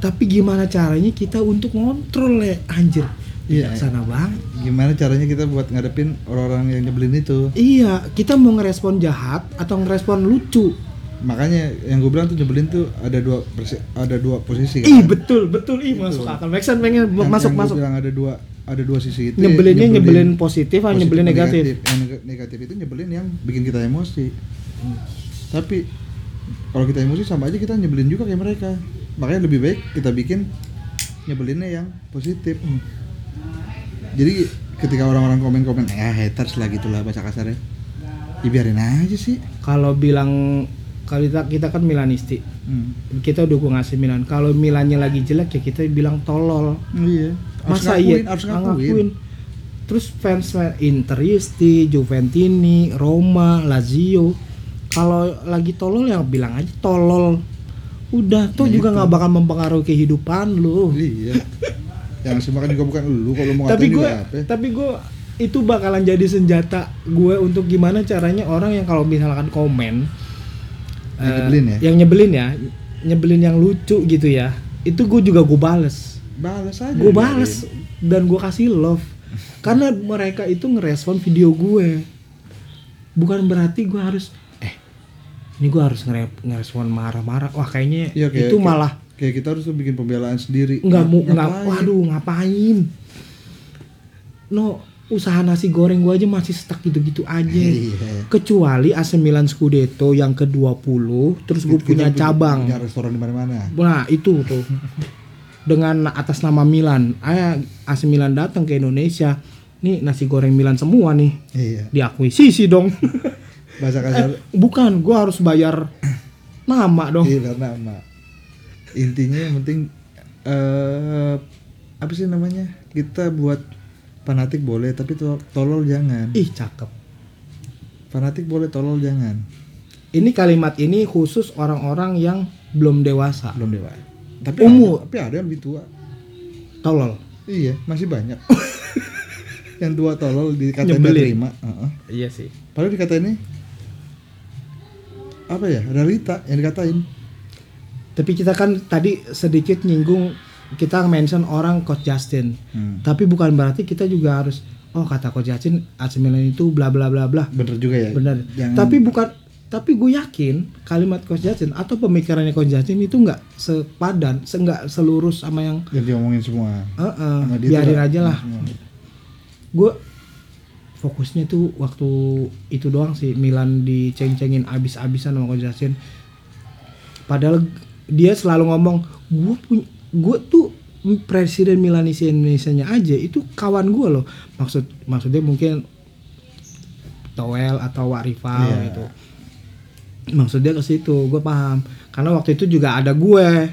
S1: tapi gimana caranya kita untuk ngontrol ya anjir
S2: Iya.
S1: sana banget
S2: Gimana caranya kita buat ngadepin orang-orang yang nyebelin itu?
S1: iya kita mau ngerespon jahat atau ngerespon lucu
S2: Makanya yang gue bilang tuh nyebelin tuh ada dua persi- ada dua posisi
S1: ih
S2: kan.
S1: betul betul ih masuk akal Maxan pengen
S2: Yang-
S1: masuk
S2: yang gua
S1: masuk
S2: bilang ada dua ada dua sisi itu. ya,
S1: nyebelinnya nyebelin positif atau nyebelin negatif
S2: Yang neg- negatif itu nyebelin yang bikin kita emosi.
S1: Hmm.
S2: Tapi kalau kita emosi sama aja kita nyebelin juga kayak mereka. Makanya lebih baik kita bikin nyebelinnya yang positif.
S1: Hmm.
S2: Jadi ketika orang-orang komen-komen ya haters lah gitulah bahasa kasarnya. Ya biarin aja sih.
S1: kalau bilang kalau kita, kita kan Milanisti
S2: Hmm.
S1: kita dukung AC Milan. Kalau Milannya lagi jelek ya kita bilang tolol.
S2: Iya. Harus
S1: Masa
S2: ngakuin,
S1: iya
S2: harus ngakuin.
S1: Terus fans Interisti, Juventini, Roma, Lazio, kalau lagi tolol ya bilang aja tolol. Udah tuh
S2: Nah,
S1: juga
S2: itu.
S1: nggak bakal mempengaruhi kehidupan lu.
S2: Iya. yang semakan juga bukan lu kalau mau
S1: tapi
S2: ngatain
S1: gue
S2: juga apa.
S1: tapi gue itu bakalan jadi senjata gue untuk gimana caranya orang yang kalau misalkan komen
S2: Yang
S1: eh,
S2: nyebelin ya?
S1: yang nyebelin ya nyebelin yang lucu gitu ya itu gue juga gue bales
S2: Balas aja.
S1: gue
S2: biarin.
S1: bales dan gue kasih love karena mereka itu ngerespon video gue bukan berarti gue harus eh ini gue harus ngere- ngerespon marah-marah wah kayaknya
S2: Iya, kayak-
S1: itu
S2: kayak-
S1: malah
S2: kayak kita harus tuh bikin pembelaan sendiri
S1: nggak mau
S2: Ngap-
S1: nggak
S2: ngapain?
S1: waduh ngapain no usaha nasi goreng gua aja masih stuck gitu-gitu aja
S2: Iya.
S1: kecuali AC Milan Scudetto yang ke-20 terus gue
S2: Kita
S1: punya cabang
S2: punya restoran di mana-mana
S1: nah itu tuh dengan atas nama Milan ah AC Milan datang ke Indonesia nih nasi goreng Milan semua nih
S2: iya
S1: diakuisisi dong [LAUGHS] Eh,
S2: bahasa kasar
S1: bukan gua harus bayar nama dong
S2: iya karena nama intinya yang penting eh apa sih namanya kita buat fanatik boleh tapi to- tolol jangan
S1: ih cakep
S2: fanatik boleh tolol jangan
S1: ini kalimat ini khusus orang-orang yang belum dewasa
S2: belum dewa tapi
S1: Umur.
S2: ada, tapi ada yang lebih tua
S1: tolol
S2: iya masih
S1: [LAUGHS]
S2: banyak yang dua tolol dikatain
S1: Nyebelin.
S2: nggak terima Heeh.
S1: iya sih
S2: Padahal dikatain nih apa ya realita yang dikatain
S1: tapi kita kan tadi sedikit nyinggung kita mention orang coach Justin
S2: Hmm.
S1: tapi bukan berarti kita juga harus oh kata coach Justin AC Milan itu bla bla bla bla
S2: bener juga ya
S1: benar
S2: Jangan-
S1: tapi bukan tapi gue yakin kalimat coach Justin atau pemikirannya coach Justin itu nggak sepadan se- nggak selurus sama yang
S2: yang diomongin semua
S1: eh, eh,
S2: Sama dia
S1: biarin
S2: tuh-
S1: aja lah
S2: Semua.
S1: gue fokusnya tuh waktu itu doang sih Milan diceng-cengin abis-abisan sama coach Justin. Padahal dia selalu ngomong gue punya gue tuh presiden Milanisi Indonesia nya aja itu kawan gue loh maksud maksudnya mungkin Toel atau Warifal
S2: Iya.
S1: gitu maksudnya ke situ gue paham karena waktu itu juga ada gue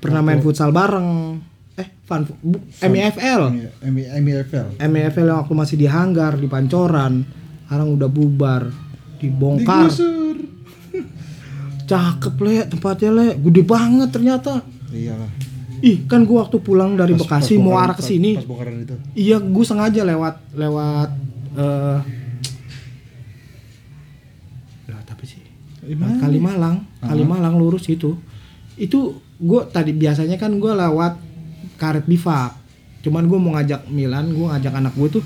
S1: pernah main futsal bareng eh fan bu, MIFL
S2: Iya, M- MIFL
S1: MFL E yang waktu masih di hanggar di pancoran sekarang udah bubar dibongkar
S2: digusur
S1: cakep le tempatnya le gede banget ternyata
S2: iyalah
S1: ih kan gua waktu pulang dari
S2: Iya Pas-
S1: Bekasi
S2: pas
S1: mau
S2: bongkaran-
S1: arah ke sini
S2: pas bongkaran itu
S1: iya gua sengaja lewat lewat eh lewat apa sih
S2: Gimana?
S1: Kalimalang Kalimalang lurus itu itu gua tadi biasanya kan gua lewat karet bivak cuman gue mau ngajak Milan gue ngajak anak gue tuh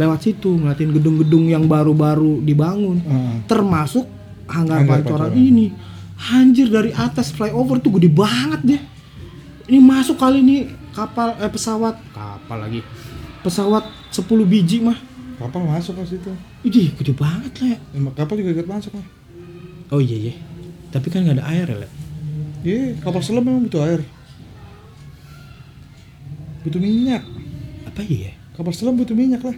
S1: lewat situ ngeliatin gedung-gedung yang baru-baru dibangun
S2: Heeh.
S1: termasuk hanggar
S2: Hanggar
S1: pancoran
S2: Pancoran.
S1: ini anjir dari atas flyover tuh gede banget deh ini masuk kali nih kapal eh pesawat kapal lagi pesawat 10 biji mah
S2: Kapal masuk pas itu.
S1: Ih, gede banget le
S2: Emang kapal juga ikut masuk lah.
S1: oh iya iya tapi kan nggak ada air ya le
S2: Iya, kapal selam memang butuh air. Butuh minyak.
S1: apa iya
S2: Kapal selam butuh minyak lah.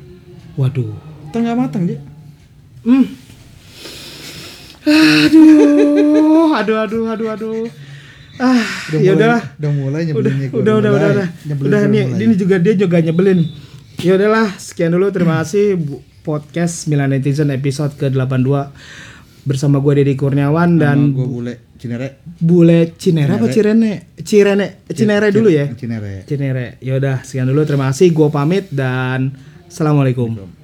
S1: waduh
S2: Tengah matang, Ji.
S1: Hmm. Aduh, aduh, aduh, aduh, aduh. Ah, ya
S2: mulai-
S1: udahlah.
S2: Udah mulai
S1: Udah,
S2: nyebelinnya. gua,
S1: udah, udah, udah,
S2: mulai.
S1: udah.
S2: Nyebelin,
S1: Udah,
S2: gua
S1: nih,
S2: mulai.
S1: ini juga dia juga nyebelin. Ya udahlah, sekian dulu. Terima kasih Bu- podcast Milan Netizen episode ke-82 bersama gua Deddy Kurniawan dan
S2: Sama gua bule Cinere.
S1: Bule Cinere apa Cirene? Cirene, Cinere dulu ya.
S2: Cinere.
S1: Cinere. Ya udah, sekian dulu. Terima kasih. Gua pamit dan assalamualaikum.